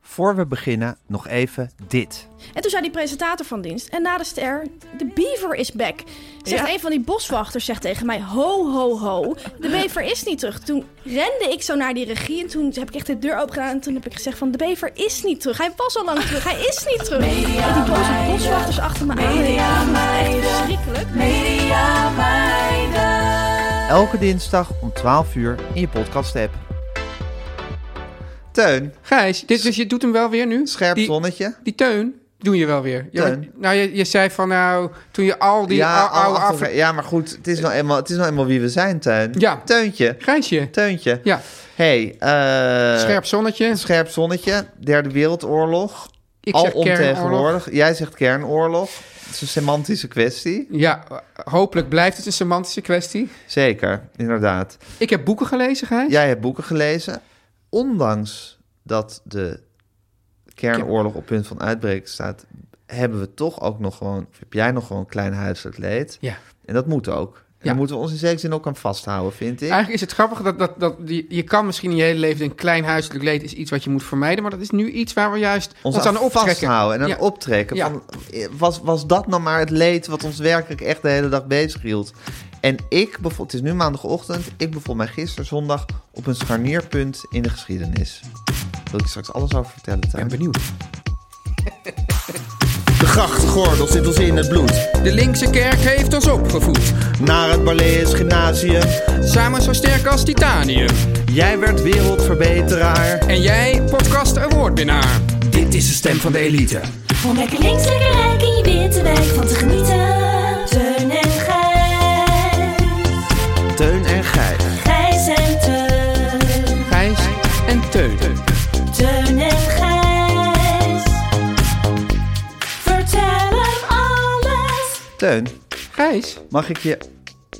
Voor we beginnen, nog even dit. En toen zei die presentator van dienst, en na de ster, de beaver is back. Zegt Ja. een van die boswachters zegt tegen mij, ho, ho, ho, de bever is niet terug. Toen rende ik zo naar die regie en toen heb ik echt de deur open gedaan. En toen heb ik gezegd van, de bever is niet terug. Hij was al lang terug, hij is niet terug. en die boze boswachters achter me aan. echt verschrikkelijk. Elke dinsdag om 12 uur in je podcast-app. Teun, Gijs, dit, dus je doet hem wel weer nu? scherp Die- zonnetje. Die teun doe je wel weer. Ja, Teun. nou, je, je zei van nou, toen je al die ja, ou- oude al achter- af... ja, maar goed, het is, nou eenmaal, het is nou eenmaal wie we zijn, Teun. Ja. Teuntje, Gijsje, Teuntje. Ja. hey, eh, scherp zonnetje. scherp zonnetje, derde wereldoorlog. Ik al zeg ontegenwoordig. Jij zegt kernoorlog. Het is een semantische kwestie. Ja, hopelijk blijft het een semantische kwestie. Zeker, inderdaad. Ik heb boeken gelezen, Gijs. Jij hebt boeken gelezen. Ondanks dat de kernoorlog op punt van uitbreken staat, hebben we toch ook nog gewoon, of heb jij nog gewoon klein huiselijk leed. Ja. En dat moet ook. En Ja. Daar moeten we ons in zekere zin ook aan vasthouden, vind ik. Eigenlijk is het grappig dat, dat, dat die, je kan misschien in je hele leven een klein huiselijk leed is iets wat je moet vermijden, maar dat is nu iets waar we juist ons, aan optrekken. vasthouden en aan Ja. optrekken. Ja. Van, was, was dat nou maar het leed wat ons werkelijk echt de hele dag bezig hield? En ik bijvoorbeeld, het is nu maandagochtend, ik bevond mij gisteren zondag op een scharnierpunt in de geschiedenis. Daar wil ik je straks alles over vertellen, Ik ben Tuin. benieuwd. De grachtgordel zit ons in het bloed. De linkse kerk heeft ons opgevoed, Naar het Balees Gymnasium. samen zo sterk als titanium. Jij werd wereldverbeteraar. En jij, podcast awardwinnaar. Dit is de stem van de elite. Om lekker links, lekker rijk in je witte wijk van te genieten. Teun en Gijs. Teun en Gijs. Gijs en Teun. Gijs en Teun. Teun en Gijs. Vertel hem alles. Teun, Gijs? Mag ik je,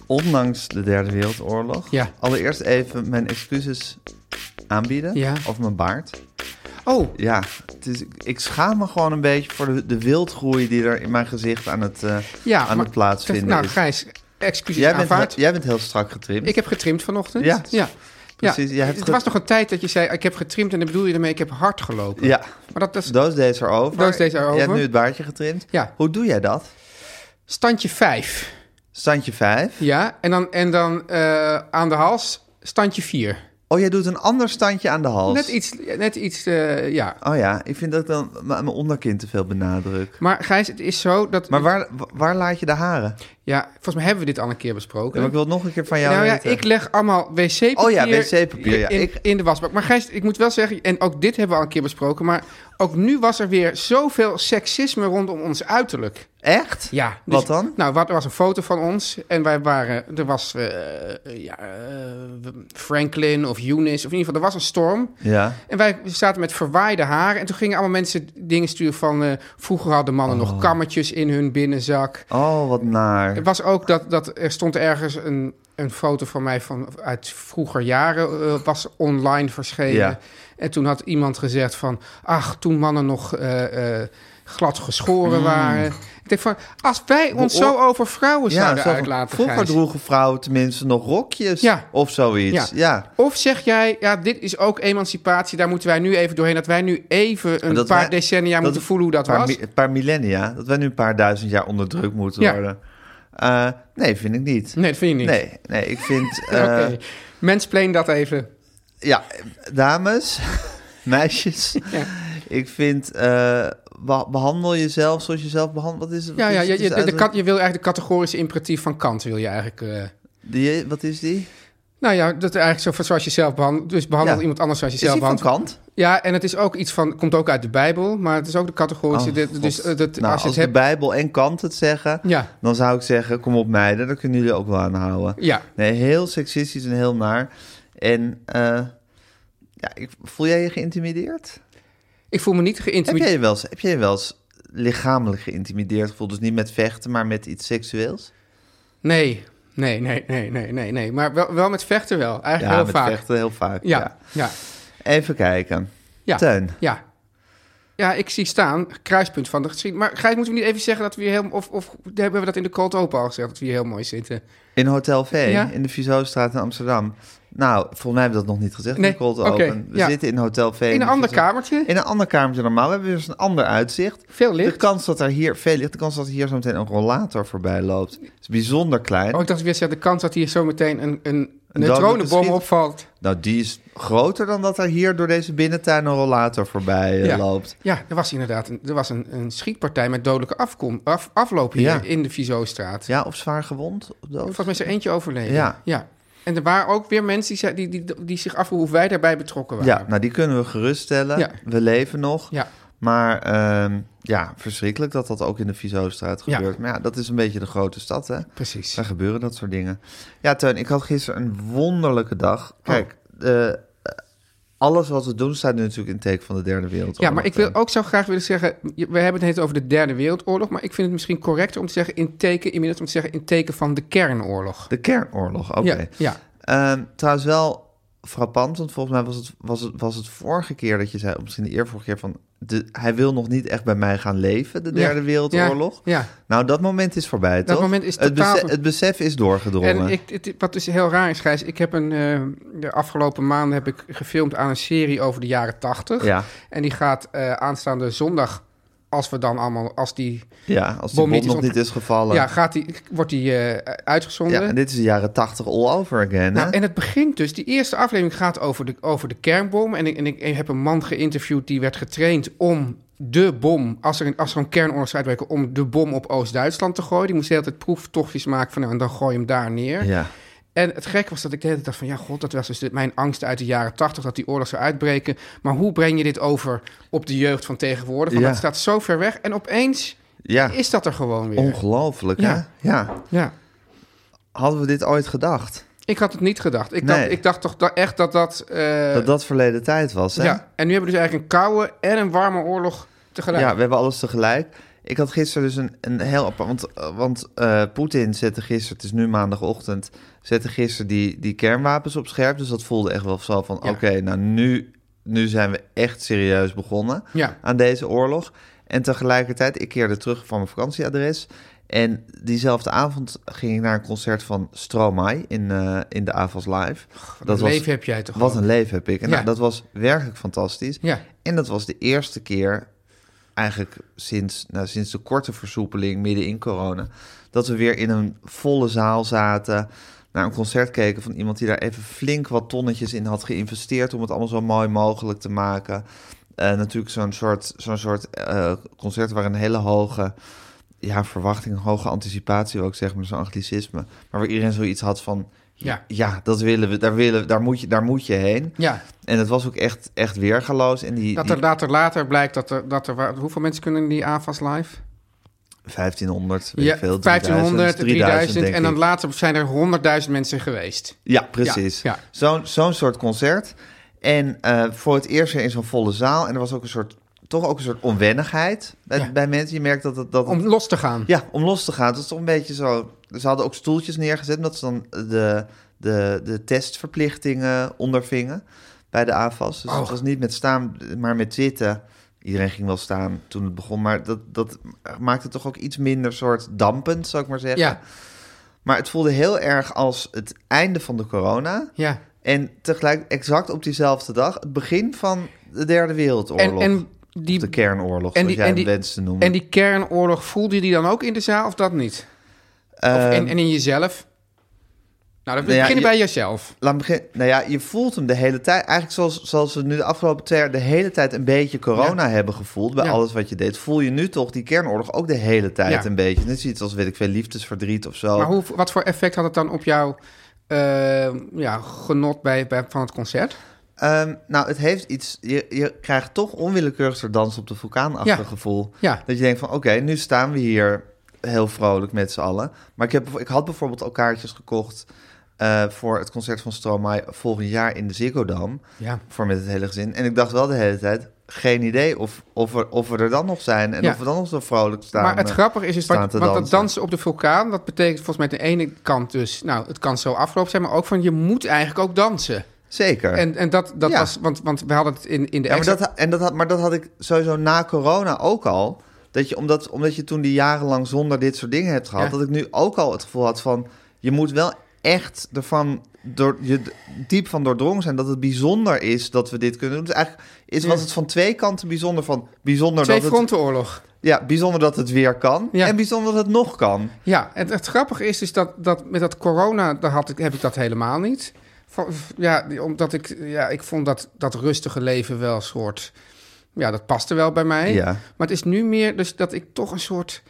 ondanks de Derde Wereldoorlog, Ja. allereerst even mijn excuses aanbieden Ja. over mijn baard? Oh, Ja, het is, ik schaam me gewoon een beetje voor de, de wildgroei die er in mijn gezicht aan het, eh, ja. aan maar- het plaatsvinden Nou, is. Gijs, excuses jij, aanvaard. bent, jij bent heel strak getrimd. Ik heb getrimd vanochtend. Ja, ja. precies. Ja. Jij hebt er ge- was nog een tijd dat je zei, ik heb getrimd en dan bedoel je ermee, ik heb hard gelopen. Ja, Maar dat is doos deze erover. Doos deze erover. Je hebt nu het baardje getrimd. Ja. Hoe doe jij dat? standje 5. Standje 5. Ja, en dan, en dan eh, aan de hals standje 4. Oh, jij doet een ander standje aan de hals. Net iets, net iets eh, ja. Oh ja, ik vind dat ik dan m- mijn onderkin te veel benadruk. Maar Gijs, het is zo dat... Maar waar, waar laat je de haren? Ja, volgens mij hebben we dit al een keer Ja, besproken. maar ik wil het nog een keer van jou Eh? nou ja, weten. ik leg allemaal wc-papier, Oh ja, wc-papier, ja. in, Ik- in de wasbak. Maar Gijs, ik moet wel zeggen, en ook dit hebben we al een keer besproken... maar ook nu was er weer zoveel seksisme rondom ons uiterlijk. Echt? Ja. dus- Wat dan? Nou, wat, er was een foto van ons en wij waren... Er was eh, ja, eh, Franklin of Eunice, of in ieder geval, er was een storm... Ja. En wij zaten met verwaaide haren. En toen gingen allemaal mensen dingen sturen van... eh, vroeger hadden mannen nog kammetjes in hun binnenzak. Oh, wat naar. Het was ook dat, dat er stond ergens een, een foto van mij van, uit vroeger jaren, eh, was online verschenen. Ja. En toen had iemand gezegd van, ach, toen mannen nog eh, eh, glad Mm. geschoren waren. Ik denk van, als wij ons Beoor- zo over vrouwen zouden zo van, uitlaten, vroeger Gijs. droegen vrouwen tenminste nog rokjes Ja. of zoiets. Ja. Ja. Of zeg jij, ja, dit is ook emancipatie, daar moeten wij nu even doorheen. Dat wij nu even een Dat paar wij- decennia dat- moeten voelen hoe dat Een paar, was. mi- een paar millennia, dat wij nu een paar duizend jaar onderdrukt moeten Ja. worden. Eh, Eh, nee, vind ik niet. Nee, dat vind je niet. Nee, nee, ik vind... eh, Oké. Mansplain dat even. Ja, dames, meisjes. Ik vind, eh, be- behandel jezelf zoals je zelf behandelt. Wat is het? Ja, wat ja, is, je, het je- is de, de uit- kat- je wil eigenlijk de categorische imperatief van Kant, wil je eigenlijk... eh, die, wat is die? nou ja, dat is eigenlijk zo van zoals je zelf behandelt. Dus behandel Ja. iemand anders zoals je Is zelf die van behandelt. Kant? Ja, en het is ook iets van, komt ook uit de Bijbel, maar het is ook de categorische. Oh, dit- dus God. eh, dat, nou, als als, je het de hebt. Bijbel en Kant het zeggen, Ja. dan zou ik zeggen, kom op meiden, daar kunnen jullie ook wel aan houden. Ja. Nee, heel seksistisch en heel naar. En eh, ja, ik, voel jij je geïntimideerd? Ik voel me niet Heb jij geïntimideerd. je wel eens, heb jij je wel eens lichamelijk geïntimideerd gevoeld? Dus niet met vechten, maar met iets seksueels? Nee, nee, nee, nee, nee, nee, nee. Maar wel, wel met vechten wel. Eigenlijk ja, heel met vaak. vechten heel vaak. Ja, ja. ja, ja, Even kijken. ja. Teun. Ja. Ja, ik zie staan, kruispunt van de geschiedenis. Maar Gijs, moeten we niet even zeggen dat we hier heel... Of, of hebben we dat in de cold open al gezegd, dat we hier heel mooi zitten? In Hotel V, Ja? in de Viseaustraat in Amsterdam. Nou, volgens mij hebben we dat nog niet gezegd. Nee, Nicole te oké, open. We ja. zitten in Hotel V. In een de ander Viseau- kamertje. In een ander kamertje normaal. We hebben dus een ander uitzicht. Veel licht. De kans dat er hier veel licht, de kans dat hier zo meteen een rollator voorbij loopt, is bijzonder klein. Oh, ik dacht weer, ja, de kans dat hier zo meteen een, een dood neutronenbom met opvalt. Nou, die is groter dan dat er hier door deze binnentuin een rollator voorbij eh, Ja. loopt. Ja, er was inderdaad een, er was een, een schietpartij met dodelijke afkom, af, afloop hier Ja. in de Viseaustraat. Ja, of zwaar gewond? Of dood? Volgens mij is er eentje overleden. Ja. En er waren ook weer mensen die, zei- die, die, die zich afvroegen hoe wij daarbij betrokken waren. Ja, nou die kunnen we geruststellen. Ja. We leven nog. Ja. Maar ehm, ja, verschrikkelijk dat dat ook in de Viseaustraat Ja. gebeurt. Maar ja, dat is een beetje de grote stad, hè? Precies. Daar gebeuren dat soort dingen. Ja, Teun, ik had gisteren een wonderlijke dag. Oh. Kijk, eh, alles wat we doen staat nu natuurlijk in het teken van de derde wereldoorlog. Ja, maar ik wil Teun. ook zo graag willen zeggen, je- we hebben het net over de derde wereldoorlog, maar ik vind het misschien correcter om te zeggen in teken, inmiddels om te zeggen in teken van de kernoorlog. De kernoorlog, oké. Ja, ja. Ehm, trouwens wel frappant, want volgens mij was het, was, het, was het vorige keer dat je zei... of misschien de eervorige keer van... De, hij wil nog niet echt bij mij gaan leven, de derde Ja, wereldoorlog. ja, ja. Nou, dat moment is voorbij, toch? moment is het, totaal- besef, het besef is doorgedrongen. En ik, het- wat dus heel raar is, Gijs, ik heb een, eh, de afgelopen maanden heb ik gefilmd aan een serie over de jaren tachtig. Ja. En die gaat eh, aanstaande zondag, als we dan allemaal, als die, ja, als de Bom bom niet is nog ont- niet is gevallen. ja, gaat die, wordt die eh, uitgezonden. Ja, en dit is de jaren tachtig all over again, hè? Nou, en het begint dus, die eerste aflevering gaat over de, over de kernbom. En ik, en ik heb een man geïnterviewd die werd getraind om de bom, als er, een- als er een kernoorlog zou uitbreken, om de bom op Oost-Duitsland te gooien. Die moest de hele tijd proeftochtjes maken van nou, en dan gooi je hem daar neer. Ja. En het gek was dat ik de hele tijd dacht van... ja, god, dat was dus dit- mijn angst uit de jaren tachtig... dat die oorlog zou uitbreken. Maar hoe breng je dit over op de jeugd van tegenwoordig? Want Ja. dat staat zo ver weg. En opeens Ja, is dat er gewoon weer. ongelooflijk, Ja. hè? Ja. ja. Hadden we dit ooit gedacht? Ik had het niet gedacht. Ik, Nee. dacht, ik dacht toch da- echt dat dat... eh, Dat dat verleden tijd was, hè? ja. En nu hebben we dus eigenlijk een koude en een warme oorlog tegelijk. Ja, we hebben alles tegelijk. Ik had gisteren dus een, een heel apart... Want, eh, want eh, Poetin zette gisteren, het is nu maandagochtend... zette gisteren die, die kernwapens op scherp. Dus dat voelde echt wel zo van... Ja. oké, nou nu, nu zijn we echt serieus begonnen Ja. aan deze oorlog. En tegelijkertijd, ik keerde terug van mijn vakantieadres... En diezelfde avond ging ik naar een concert van Stromae in, eh, in de Avals Live. Wat leven heb jij toch Wat ook. een leven heb ik. En Ja. nou, dat was werkelijk fantastisch. Ja. En dat was de eerste keer, eigenlijk sinds, nou, sinds de korte versoepeling midden in corona, dat we weer in een volle zaal zaten. Naar een concert keken van iemand die daar even flink wat tonnetjes in had geïnvesteerd. om het allemaal zo mooi mogelijk te maken. Eh, natuurlijk zo'n soort, zo'n soort eh, concert waar een hele hoge ja, verwachting, hoge anticipatie ook zeg maar, zo'n anglicisme. Maar waar iedereen zoiets had van. Ja. Ja, dat willen we, daar, willen, we- daar, moet, je, daar moet je heen. Ja. En het was ook echt, echt weergaloos. En die, Dat die er later, later blijkt dat er, dat er... wa- Hoeveel mensen kunnen in die AFAS live? 1500, weet Ja, ik veel, 1500, 3000, 3000 En dan denk ik. later zijn er 100.000 mensen geweest. Ja, precies. Ja, ja. Zo'n zo'n soort concert. En eh, voor het eerst weer in zo'n volle zaal. En er was ook een soort, toch ook een soort onwennigheid bij, Ja. bij mensen. Je merkt dat het... Dat het- Om los te gaan. Ja, om los te gaan. Dat is toch een beetje zo... Ze hadden ook stoeltjes neergezet... omdat ze dan de, de, de testverplichtingen ondervingen bij de AFAS. Dus Oh. het was niet met staan, maar met zitten. Iedereen ging wel staan toen het begon. Maar dat, dat maakte het toch ook iets minder soort dampend, zou ik maar zeggen. Ja. Maar het voelde heel erg als het einde van de corona... Ja. en tegelijk exact op diezelfde dag... het begin van de derde wereldoorlog. En, en die, Of de kernoorlog, en zoals die- jij hem en die- wenst te noemen. en die kernoorlog, voelde je die dan ook in de zaal of dat niet? Of Ehm, en, en in jezelf? Nou, dan nou ja, beginnen je- bij jezelf. Laat me beginnen. Nou ja, je voelt hem de hele tijd. Eigenlijk zoals, zoals we nu de afgelopen twee jaar de hele tijd een beetje corona hebben gevoeld. Bij Ja. alles wat je deed. Voel je nu toch die kernoorlog ook de hele tijd Ja. een beetje. Net zoiets als, weet ik veel, liefdesverdriet of zo. Maar hoe, wat voor effect had het dan op jouw eh, ja, genot bij, bij, van het concert? Ehm, nou, het heeft iets... Je, je krijgt toch onwillekeurig zo'n dans op de vulkaanachtig Ja. gevoel. Ja. Dat je denkt van, oké, nu staan we hier heel vrolijk met z'n allen. Maar ik, heb, ik had bijvoorbeeld al kaartjes gekocht... eh, voor het concert van Stromae volgend jaar in de Ziggo Dome. Ja. voor met het hele gezin. En ik dacht wel de hele tijd, geen idee of, of, we, of we er dan nog zijn en Ja. of we dan nog zo vrolijk staan. maar het eh, grappige is, is staan wat, te want dat dansen. dansen op de vulkaan, dat betekent volgens mij aan de ene kant dus, nou, het kan zo afgelopen zijn, maar ook van je moet eigenlijk ook dansen. Zeker. En, en dat, dat Ja. was, want, want we hadden het in, in de ja, maar, extra- dat, ha- en dat had, maar dat had ik sowieso na corona ook al. Dat je, omdat, omdat je toen die jarenlang zonder dit soort dingen hebt gehad, Ja. dat ik nu ook al het gevoel had van, je moet wel echt ervan door, je d- diep van doordrongen zijn dat het bijzonder is dat we dit kunnen doen. Dus eigenlijk is, was het van twee kanten bijzonder van bijzonder twee dat het, frontenoorlog. ja, bijzonder dat het weer kan Ja. en bijzonder dat het nog kan. Ja, en het grappige is dus dat, dat met dat corona, daar had ik, heb ik dat helemaal niet. Van- Ja, omdat ik, ja, ik vond dat, dat rustige leven wel een soort... Ja, dat paste wel bij mij. Ja. Maar het is nu meer dus dat ik toch een soort...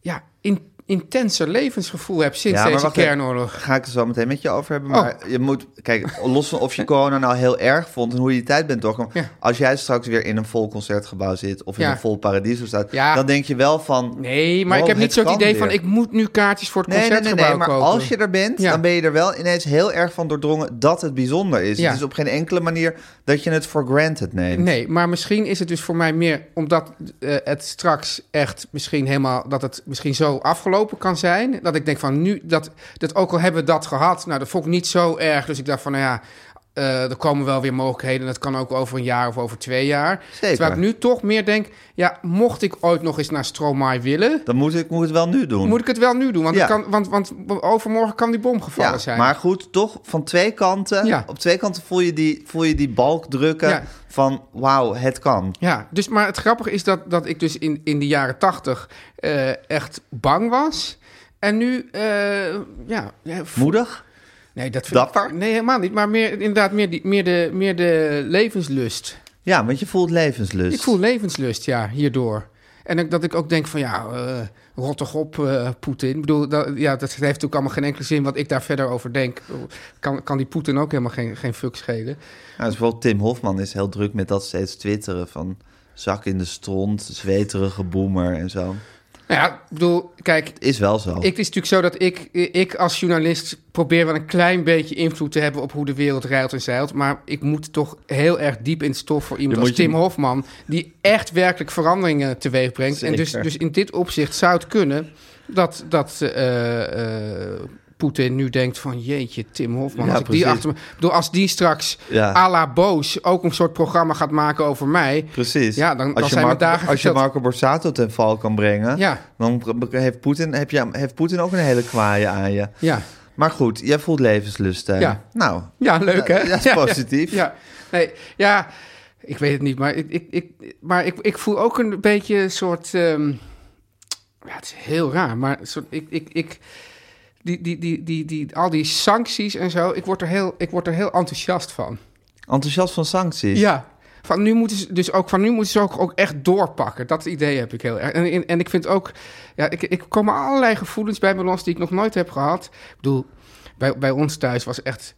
Ja, in, intenser levensgevoel heb sinds maar deze wacht even. kernoorlog. Ga ik het zo meteen met je over hebben. Maar Oh. je moet, kijk, los van of je corona nou heel erg vond en hoe je die tijd bent doorgekomen. Ja. Als jij straks weer in een vol concertgebouw zit of in Ja. een vol paradiso staat, Ja. dan denk je wel van. Nee, maar wow, ik heb niet het zo'n kan idee van... weer. ik moet nu kaartjes voor het Nee, nee, nee, concertgebouw nee, maar kopen. als je er bent, Ja. dan ben je er wel ineens heel erg van doordrongen dat het bijzonder is. Ja. Het is op geen enkele manier dat je het voor granted neemt. Nee, maar misschien is het dus voor mij meer omdat eh, het straks echt misschien helemaal dat het misschien zo afgelopen kan zijn. Dat ik denk van nu dat, dat ook al hebben we dat gehad, nou dat vond ik niet zo erg. Dus ik dacht van nou ja, eh, er komen wel weer mogelijkheden. Dat kan ook over een jaar of over twee jaar. Zeker. Terwijl ik nu toch meer denk, ja, mocht ik ooit nog eens naar Stromae willen, Dan moet ik moet het wel nu doen. moet ik het wel nu doen. Want, Ja. het kan, want, want overmorgen kan die bom gevallen ja, zijn. maar goed, toch van twee kanten. Ja. Op twee kanten voel je die, voel je die balk drukken Ja. van wauw, het kan. Ja, dus, maar het grappige is dat, dat ik dus in, in de jaren tachtig eh, echt bang was. En nu, eh, ja... eh, v- Moedig? Nee, dat vind ik- Dapper? nee, helemaal niet. Maar meer, inderdaad, meer, die, meer, de, meer de levenslust. Ja, want je voelt levenslust. Ik voel levenslust, ja, hierdoor. En ik- dat ik ook denk van, ja, eh rot toch op, eh, Poetin. Ik bedoel, dat, ja, dat heeft natuurlijk allemaal geen enkele zin wat ik daar verder over denk. Kan, kan die Poetin ook helemaal geen, geen fuck schelen. Nou, dus bijvoorbeeld Tim Hofman is heel druk met dat steeds twitteren van zak in de stront, zweterige boemer en zo. Nou ja, ik bedoel, kijk, Is wel zo. Ik, het is natuurlijk zo dat ik, ik als journalist probeer wel een klein beetje invloed te hebben op hoe de wereld rijdt en zeilt. Maar ik moet toch heel erg diep in het stof voor iemand Dan als moet je- Tim Hofman. Die echt werkelijk veranderingen teweeg brengt. En dus, Zeker. dus in dit opzicht zou het kunnen dat, dat eh, eh, Poetin nu denkt van jeetje, Tim Hofman. Ja, als, ik die precies. achter me, ik bedoel, als die straks Ja. à la boos ook een soort programma gaat maken over mij. Precies. Ja, dan- dan als je, zijn we Marco, dagen als je gesteld. Marco Borsato ten val kan brengen, Ja. dan heeft Poetin, heb je, heeft Poetin ook een hele kwaaie aan je. Ja. Maar goed, jij voelt levenslust. Hè? Ja. Nou, Ja, leuk hè? Ja, ja, dat is positief. Ja, ja. Nee, ja, ik weet het niet, maar ik, ik, ik, maar ik, ik voel ook een beetje een soort... ehm, ja, het is heel raar, maar een soort, ik... ik, ik die, die, die, die, die, al die sancties en zo, ik word er heel, ik word er heel enthousiast van. enthousiast van sancties. Ja. Van nu moeten ze dus ook, van nu moeten ze ook, ook echt doorpakken. Dat idee heb ik heel erg. En, en, en ik vind ook, ja, ik, ik komen allerlei gevoelens bij me los die ik nog nooit heb gehad. Ik bedoel, bij, bij ons thuis was echt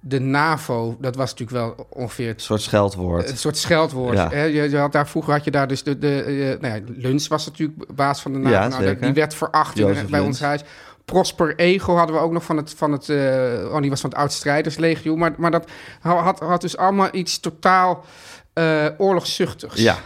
de NAVO, dat was natuurlijk wel ongeveer Een het soort scheldwoord. een soort scheldwoord. Ja. Hè? Je, je had daar, vroeger had je daar dus de... de eh, nou ja, Luns was natuurlijk baas van de NAVO. Ja, nou, dat- zeker. die werd veracht in- Jozef bij Luns. ons huis. Prosper Ego hadden we ook nog van het... Van het eh, oh, die was van het oud-strijderslegioen. Maar, maar dat had, had dus allemaal iets totaal eh, oorlogszuchtigs. Ja.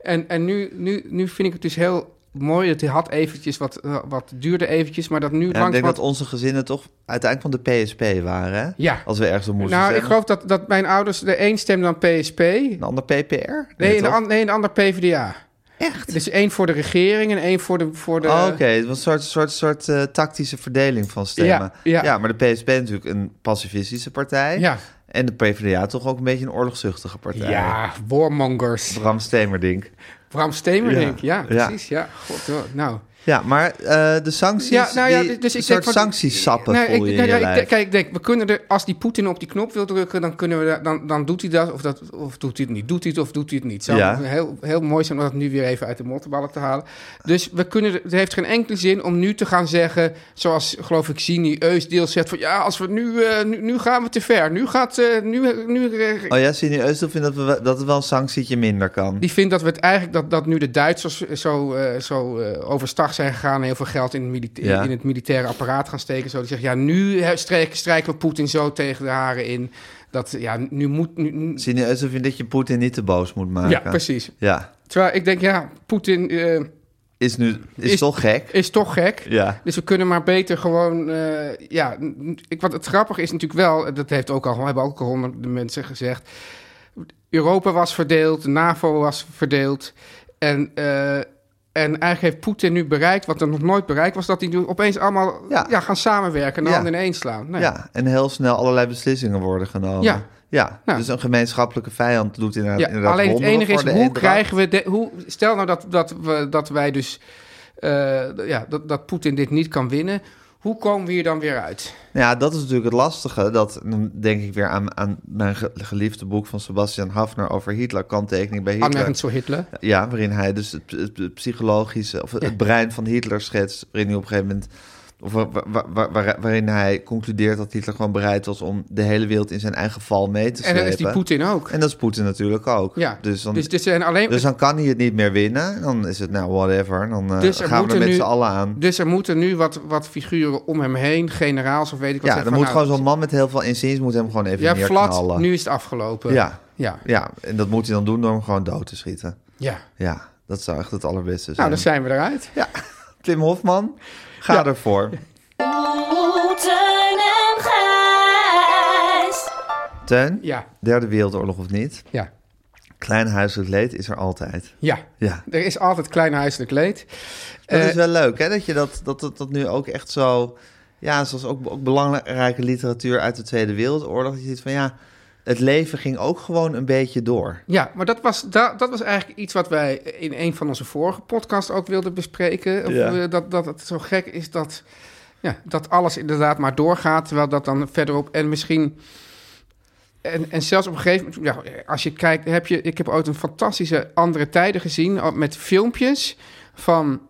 En, en nu, nu, nu vind ik het dus heel mooi. Het had eventjes wat, eh, wat duurde eventjes, maar dat nu Ja, ik denk langzamerhand- dat onze gezinnen toch uiteindelijk van de PSP waren. Hè? Ja. Als we ergens op moesten Nou, ik stemmen. geloof dat, dat mijn ouders... De een stemde dan PSP. Een ander PPR? Nee, toch? een, an- nee, een ander PvdA. Echt? Dus één voor de regering en één voor de... Voor de Oh, Oké, het was een soort, soort, soort eh, tactische verdeling van stemmen. Ja, ja. maar de PSP is natuurlijk een pacifistische partij. Ja. En de PvdA toch ook een beetje een oorlogzuchtige partij. Ja, warmongers. Bram Stemerdink. Bram Stemerdink, ja, Ja. precies. Ja. God, hoor. nou, Ja, maar eh, de sancties. Ja, nou ja, die- dus ik een soort denk van- sanctiesappen Nee, ik, voel je in nou je ja, ik lijf. denk- kijk, ik denk, we kunnen er, als die Poetin op die knop wil drukken, dan, kunnen we, daar- dan, dan doet hij dat of, dat. of doet hij het niet. Doet hij het of doet hij het niet. Zou Ja. heel, heel mooi zijn om dat nu weer even uit de mottenballen te halen. Dus we kunnen, er- het heeft geen enkele zin om nu te gaan zeggen, zoals geloof ik Sini Eus deels zegt, van ja, als we nu, eh, nu, nu gaan we te ver. Nu gaat, eh, nu, nu Oh ja, Sini Eustel vindt dat, we, wel- dat het wel een sanctietje minder kan. Die vindt dat we het eigenlijk dat, dat nu de Duitsers zo, eh, zo eh, overstag zijn gegaan en heel veel geld in het, milita- Ja. in het militaire apparaat gaan steken. Zo die zegt ja, nu hè, strijk- strijken we Poetin zo tegen de haren in. Dat ja, nu moet. Nu, nu- Sini Eustel vindt dat je Poetin niet te boos moet maken. ja, precies. Ja, Terwijl ik denk, ja, Poetin eh, is, nu, is, Is- toch gek? is toch gek. Ja. Dus we kunnen maar beter gewoon. eh, ja, n- ik, wat het grappige is natuurlijk wel, en dat heeft ook al, hebben ook al honderden mensen gezegd. Europa was verdeeld, de NAVO was verdeeld. En, eh, en eigenlijk heeft Poetin nu bereikt, wat er nog nooit bereikt was, dat die nu opeens allemaal Ja. ja. gaan samenwerken en de Ja. handen ineens slaan. Nou ja. Ja, en heel snel allerlei beslissingen worden genomen. Ja. ja. Ja. dus een gemeenschappelijke vijand doet inderdaad, Ja, inderdaad alleen het wonderen enige is, voor de hoe eendracht. krijgen we... De, hoe, stel nou dat, dat, we, dat wij dus... eh, d- ja, dat, dat Poetin dit niet kan winnen. Hoe komen we hier dan weer uit? Nou Ja, dat is natuurlijk het lastige. Dat dan denk ik weer aan, aan mijn ge- geliefde boek van Sebastian Hafner over Hitler, kanttekening bij Hitler. Anmerkend zo Hitler. Ja, waarin hij dus het, het- het psychologische, of het Ja. brein van Hitler schetst, waarin hij op een gegeven moment, of wa- wa- wa- waar- waarin hij concludeert dat Hitler gewoon bereid was om de hele wereld in zijn eigen val mee te En slepen. dan is die Poetin ook. En dat is Poetin natuurlijk ook. Ja, Dus dan, dus dus, dit zijn alleen... Dus, dan kan hij het niet meer winnen. Dan is het nou whatever. Dan eh, Dus gaan er we er moeten met nu- z'n allen aan. dus er moeten nu wat, wat figuren om hem heen, generaals of weet ik wat. Ja, dan zeggen van, moet nou, gewoon zo'n man met heel veel inziens moet hem gewoon even Ja, neerknallen. flat, nu eh. is het afgelopen. Ja, Ja. ja, en dat moet hij dan doen door hem gewoon dood te schieten. ja. Ja, dat zou echt het allerbeste zijn. Nou, dan zijn we eruit. Ja, Tim Hofman, ga Ja. ervoor. Oeh, Teun en Gijs. Teun, Ja, derde wereldoorlog of niet, ja, klein huiselijk leed is er altijd. ja. Ja, Er is altijd klein huiselijk leed. dat Eh, is wel leuk hè, dat je dat, dat, dat, dat nu ook echt zo... Ja, zoals ook, ook belangrijke literatuur uit de Tweede Wereldoorlog. Dat je ziet van ja, het leven ging ook gewoon een beetje door. Ja, maar dat was, da- dat was eigenlijk iets wat wij in een van onze vorige podcasts ook wilden bespreken. Of, Ja. eh, dat, dat het zo gek is dat, ja, dat alles inderdaad maar doorgaat, terwijl dat dan verderop en misschien... En, en zelfs op een gegeven moment, ja, als je kijkt, heb je, ik heb ooit een fantastische andere tijden gezien al met filmpjes van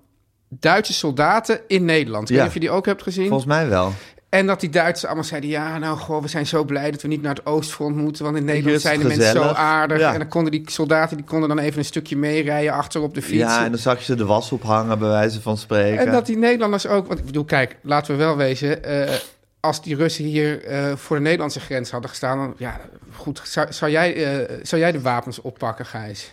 Duitse soldaten in Nederland. Ik weet Ja. niet of je die ook hebt gezien. Volgens mij wel. En dat die Duitsers allemaal zeiden: ja, nou, goh, we zijn zo blij dat we niet naar het Oostfront moeten. Want in Hier Nederland is het zijn de mensen zo gezellig. aardig. Ja. En dan konden die soldaten die konden dan even een stukje meerijden achter op de fiets. Ja, en en, dan zag je ze de was ophangen, bij wijze van spreken. dat die Nederlanders ook. Want ik bedoel, kijk, laten we wel wezen. eh, als die Russen hier eh, voor de Nederlandse grens hadden gestaan, dan ja, goed. Zou, zou, jij, eh, zou jij de wapens oppakken, Gijs?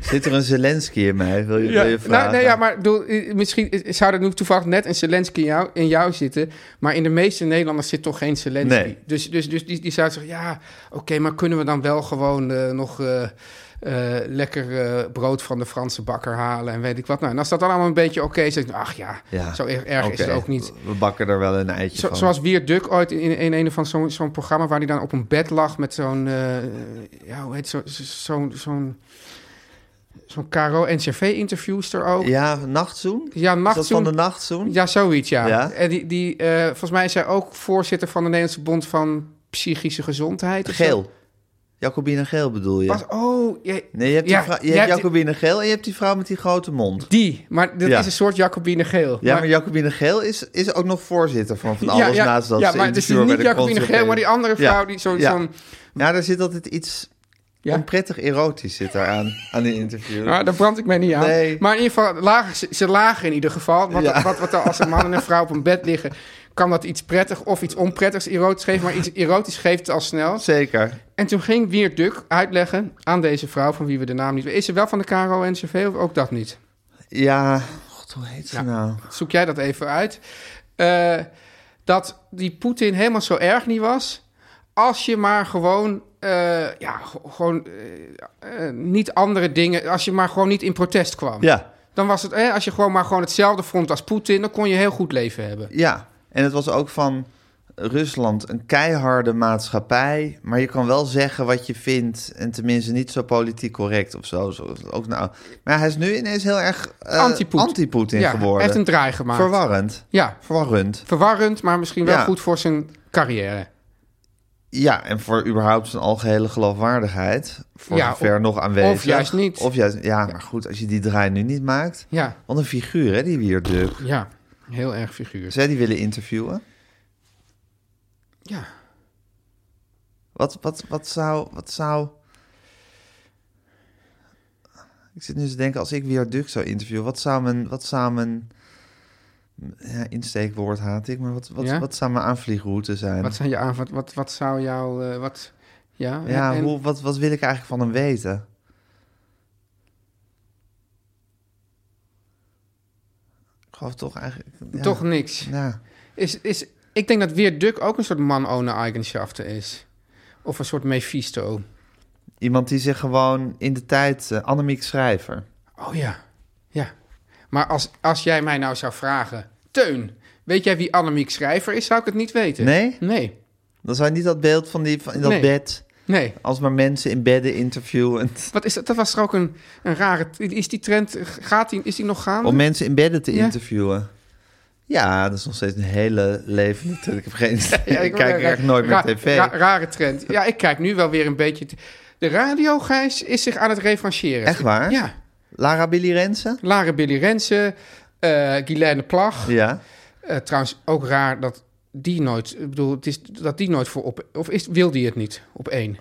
Zit er een Zelensky in mij, wil je, wil je vragen? nou, nee, ja, maar ik bedoel, eh, misschien eh, zou er nu toevallig net een Zelensky in jou, in jou zitten. Maar in de meeste Nederlanders zit toch geen Zelensky. Nee. Dus, dus, dus die, die zou zeggen, ja, oké, maar kunnen we dan wel gewoon eh, nog eh, eh, lekker eh, brood van de Franse bakker halen en weet ik wat. Nou, en als dat dan allemaal een beetje oké is, dan denk ik, ach ja, Ja. zo erg, erg is Oké, het ook niet. We bakken er wel een eitje Zo- van. zoals Wierd Duk ooit in, in, een van zo'n zo'n programma waar hij dan op een bed lag met zo'n. eh, ja, hoe heet zo- zo- zo'n. zo'n zo'n KRO-NCV-interviewster ook. Ja, Ja, nachtzoen? Is dat nachtzoen. van de nachtzoen? Ja, zoiets, ja. Ja? En die, die, eh, volgens mij is zij ook voorzitter van de Nederlandse Bond van Psychische Gezondheid. of zo. Geel. Jacobine Geel bedoel je? Was, oh, ja, Nee, je hebt, die Ja, vrou- je je hebt hebt- Jacobine Geel en je hebt die vrouw met die grote mond. die. Maar dat Ja. is een soort Jacobine Geel. Ja, maar, Jacobine Geel is, is ook nog voorzitter van van alles ja, ja, naast dat ja, ze maar het is interviewer bij niet de Jacobine Geel, maar die andere Ja, vrouw die zo, ja. zo'n... Ja, daar zit altijd iets Ja. onprettig erotisch zit daar aan, aan die interview. Nou, daar brand ik mij niet aan. Nee. Maar in ieder geval, lagen, ze, ze lagen in ieder geval. Wat, Ja. wat, wat er als een man en een vrouw op een bed liggen, kan dat iets prettig of iets onprettigs erotisch geven. Maar iets erotisch geeft het al snel. Zeker. En toen ging Wiert Duk uitleggen aan deze vrouw, van wie we de naam niet weten. Is ze wel van de KRO-NCV of ook dat niet? Ja, god, hoe heet ze Ja. nou? Zoek jij dat even uit. Eh, dat die Poetin helemaal zo erg niet was. Als je maar gewoon, eh, ja, g- gewoon eh, eh, niet andere dingen. Als je maar gewoon niet in protest kwam. Ja, Dan was het, eh, als je gewoon maar gewoon hetzelfde vond als Poetin, dan kon je heel goed leven hebben. ja. En het was ook van... Rusland een keiharde maatschappij. Maar je kan wel zeggen wat je vindt. En tenminste niet zo politiek correct of zo. zo ook nou. Maar hij is nu ineens heel erg eh, Anti-Poet. anti-Poetin Ja, geworden. hij heeft een draai gemaakt. Verwarrend. Ja, Verwarrend. verwarrend, maar misschien wel Ja. goed voor zijn carrière. Ja, en voor überhaupt zijn algehele geloofwaardigheid. Voor Ja, zover of- nog aanwezig. of juist niet. Of juist, ja, maar goed, als je die draai nu niet maakt. Ja, Wat een figuur, hè, die Wierduk. ja. Heel erg figuur. Zij die willen interviewen. Ja. Wat, wat, wat, zou, wat zou... Ik zit nu te denken, als ik weer Duk zou interviewen... wat zou mijn... Wat zou mijn ja, insteekwoord haat ik, maar wat, wat, Ja? wat zou mijn aanvliegroute zijn? Wat, zijn je aan, wat, wat, wat zou jou... eh, wat, ja, ja, en- hoe, wat, wat wil ik eigenlijk van hem weten? Ik geloof toch eigenlijk... ja, Toch niks. Ja. Is, is, ik denk dat Weer Duk ook een soort man ohne eigenschaften is. Of een soort Mephisto. Iemand die zich gewoon in de tijd... eh, Annemiek Schrijver. Oh ja, ja. Maar als, als jij mij nou zou vragen... Teun, weet jij wie Annemiek Schrijver is? Zou ik het niet weten. Nee? Nee, Dan zou je niet dat beeld van die van in dat Nee. bed, nee. als maar mensen in bedden interviewen. Wat is dat? Dat was er ook een, een rare... Is die trend... Gaat die, is die nog gaande? Om mensen in bedden te Ja. interviewen. Ja, dat is nog steeds een hele levende trend. Ik heb geen idee. Ja, ik kijk ra- echt nooit ra- meer tv. ra- rare trend. Ja, ik kijk nu wel weer een beetje... te- De radio, Gijs, is zich aan het revancheren. Echt waar? Ja. Lara Billy Rensen? Lara Billy Rensen, eh Guylaine Plag. Ja. Eh, trouwens, ook raar dat die nooit... Ik bedoel, het is dat die nooit voor op... Of is, wil die het niet op één?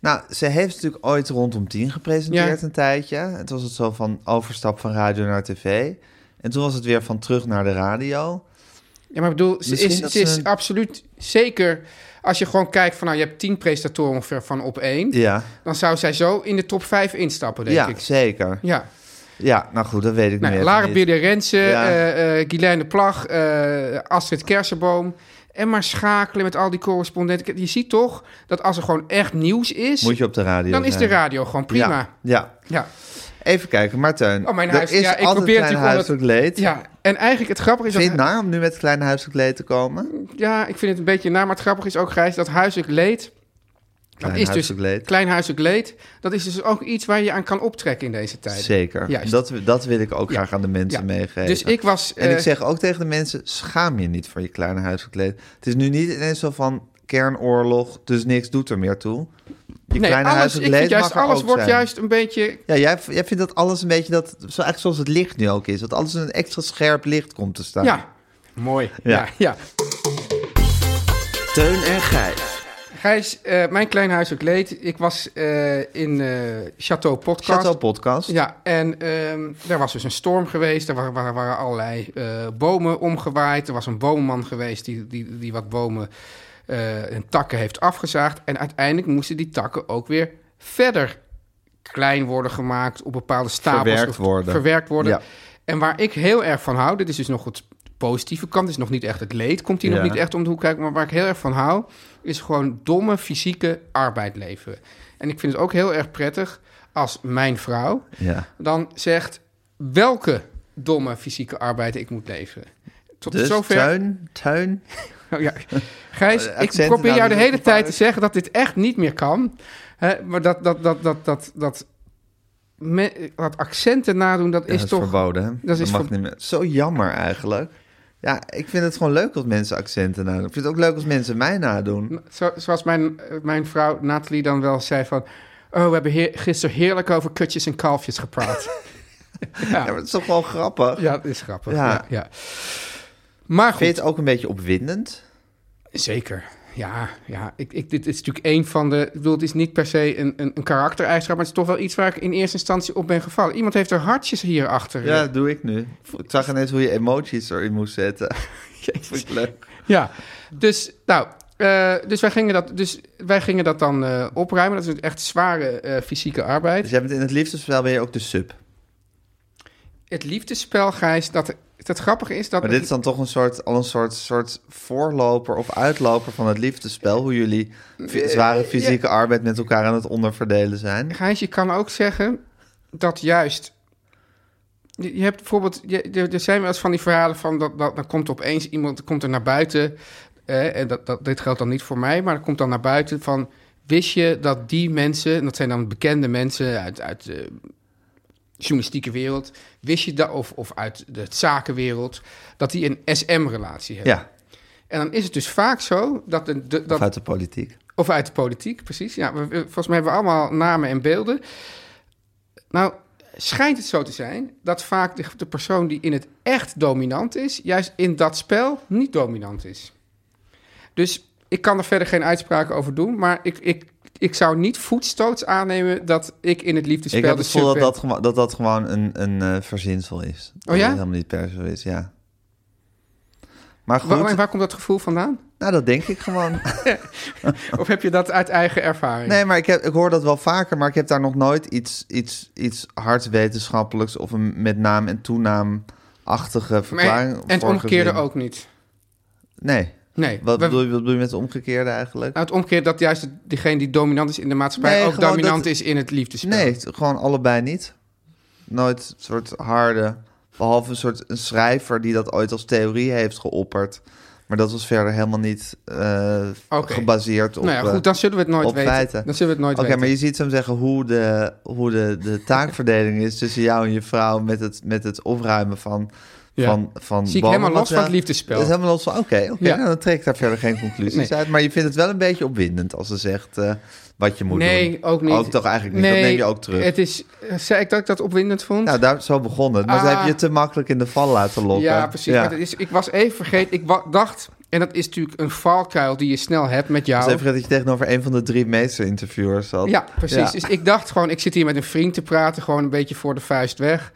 Nou, ze heeft natuurlijk ooit rondom tien gepresenteerd een tijdje. En toen was het zo van overstap van radio naar tv. En toen was het weer van terug naar de radio. Ja, maar ik bedoel, ze Misschien is, dat ze is ze- absoluut zeker... Als je gewoon kijkt van, nou, je hebt tien presentatoren ongeveer van op één... Ja, dan zou zij zo in de top vijf instappen, denk ja ik. zeker. Ja, Ja, nou goed, dat weet ik nou, nu even Lara niet. Billy Rensen, eh Ja. eh, Guylaine Plag, eh, Astrid Kersenboom... En maar schakelen met al die correspondenten. Je ziet toch dat als er gewoon echt nieuws is... Moet je op de radio dan is de zijn. radio gewoon prima. Ja, ja, ja. Even kijken, Martijn. Oh, mijn huis- Er is ja, ik altijd probeer klein natuurlijk om dat- huiselijk leed. Ja, en eigenlijk het grappige is... Vind je het nou- dat, naar om nu met klein huiselijk leed te komen? ja, ik vind het een beetje naar, maar het grappige is ook, Gijs, dat huiselijk leed... Klein dat is dus, huiselijk leed. Klein huiselijk leed, dat is dus ook iets waar je aan kan optrekken in deze tijd. Zeker. Juist. Dat, dat wil ik ook Ja. graag aan de mensen Ja. meegeven. Dus ik was... en ik eh, zeg ook tegen de mensen, schaam je niet voor je kleine huiselijk leed. Het is nu niet ineens zo van kernoorlog, dus niks doet er meer toe. Je nee, kleine alles, ik huiselijk vind leed juist, mag er alles ook wordt zijn. juist een beetje... Ja, jij, jij vindt dat alles een beetje dat, zo, eigenlijk zoals het licht nu ook is. Dat alles in een extra scherp licht komt te staan. Ja, mooi. Ja. Ja, ja. Teun en Gijs. Gijs, eh, mijn klein huiselijk leed. Ik was eh, in eh, Chateau Podcast. Chateau Podcast. Ja, en ehm er was dus een storm geweest. Er waren, waren, waren allerlei eh, bomen omgewaaid. Er was een boomman geweest die, die, die wat bomen eh, en takken heeft afgezaagd. En uiteindelijk moesten die takken ook weer verder klein worden gemaakt, op bepaalde stapels Verwerkt of- worden. verwerkt worden. Ja. En waar ik heel erg van hou, dit is dus nog het positieve kant, dit is nog niet echt het leed, komt hier Ja. nog niet echt om de hoek kijken, maar waar ik heel erg van hou, is gewoon domme fysieke arbeid leveren. En ik vind het ook heel erg prettig als mijn vrouw Ja. dan zegt welke domme fysieke arbeid ik moet leveren. Tot Dus zover. tuin, tuin. Oh, ja. Gijs, Eh, ik accenten probeer nou jou de niet hele opgevallen. tijd te zeggen dat dit echt niet meer kan. Hè, maar dat, dat, dat, dat, dat, dat, me- dat accenten nadoen, dat Ja, is toch... verboden. hè? Dat, is mag ver- niet meer. Zo jammer eigenlijk. Ja, ik vind het gewoon leuk als mensen accenten nadoen. Ik vind het ook leuk als mensen mij nadoen. Zo- zoals mijn, eh, mijn vrouw Nathalie dan wel zei van... Oh, we hebben heer- gisteren heerlijk over kutjes en kalfjes gepraat. Ja, maar het is toch gewoon grappig. ja, dat is grappig. Ja. Ja. Ja, Maar goed. Vind je het ook een beetje opwindend? Zeker. Ja, ja. Ik, ik, dit is natuurlijk één van de. Ik bedoel, het is niet per se een, een, een karaktereigenschap, maar het is toch wel iets waar ik in eerste instantie op ben gevallen. Iemand heeft er hartjes hierachter. Ja, dat doe ik nu. Ik zag ineens hoe je emoties erin moest zetten. Vond ik leuk. ja. Dus, nou. eh, dus, wij gingen dat, dus wij gingen dat dan eh, opruimen. Dat is echt zware eh, fysieke arbeid. Dus jij bent in het liefdesspel ben je ook de sub. Het liefdesspel, Gijs, dat, dat grappige is dat... Maar dit is dan toch een soort, al een soort, soort voorloper of uitloper van het liefdesspel. Hoe jullie Eh, fi- zware fysieke arbeid met elkaar aan het onderverdelen zijn. Gijs, je kan ook zeggen dat juist. Je je hebt bijvoorbeeld, je- er er zijn wel eens van die verhalen van dat, dat dan komt opeens iemand komt er naar buiten eh, en dat, dat, dit geldt dan niet voor mij, maar dat komt dan naar buiten van... Wist je dat die mensen, en dat zijn dan bekende mensen uit, uit eh, journalistieke wereld... Wist je dat, of, of uit de zakenwereld, dat die een SM-relatie hebben? Ja, En dan is het dus vaak zo dat... De, de- dat vanuit de politiek. of uit de politiek, precies. Ja, we- we- volgens mij hebben we allemaal namen en beelden. Nou, schijnt het zo te zijn dat vaak de, de persoon die in het echt dominant is, juist in dat spel niet dominant is. Dus ik kan er verder geen uitspraken over doen, maar ik, ik, ik zou niet voetstoots aannemen dat ik in het liefdespel Ik heb de het gevoel sub dat ben. dat, gewo- dat dat gewoon een, een eh, verzinsel is. Dat ja? het helemaal niet per se is, ja. Maar goed, Waar, waar- waar komt dat gevoel vandaan? nou dat denk ik gewoon. Of heb je dat uit eigen ervaring? Nee, maar ik, heb, ik hoor dat wel vaker, maar ik heb daar nog nooit iets, iets, iets hard wetenschappelijks of een met naam en toenaam achtige Maar- verklaring en het voor omgekeerde gezien. ook niet. Nee. Nee. Wat, we- bedoel je, wat bedoel je met de omgekeerde eigenlijk? Nou, het omgekeerde dat juist degene die dominant is in de maatschappij Nee, ook gewoon dominant dat- is in het liefdespel. Nee, het- gewoon allebei niet. Nooit een soort harde. Behalve een soort een schrijver die dat ooit als theorie heeft geopperd. Maar dat was verder helemaal niet eh, Oké. gebaseerd op. Nou ja, eh, goed, dan zullen we het nooit op weten. feiten. Dan zullen we het nooit Oké, maar weten. je ziet hem zeggen hoe, de, hoe de, de taakverdeling is tussen jou en je vrouw met het, met het opruimen van. Ja. Van, van Zie ik bomen. helemaal Want, los van het ja, liefdespel. Dat is helemaal los van. Oké, oké, Ja. nou, dan trek ik daar verder geen conclusies Nee. uit. Maar je vindt het wel een beetje opwindend als ze zegt eh, wat je moet doen. Nee, ook niet. Ook toch eigenlijk niet. Dat neem je ook terug. Het is, zei ik dat ik dat opwindend vond? Nou, daar, zo begon het. Maar ze Ah. hebben je te makkelijk in de val laten lokken. ja, precies. Maar dat is, ik was even vergeten. Ik wa- dacht, en dat is natuurlijk een valkuil die je snel hebt met jou. Dus even dat je tegenover een van de drie meester-interviewers zat. nou- Ja, precies. Ja. Dus ik dacht gewoon, ik zit hier met een vriend te praten, gewoon een beetje voor de vuist weg.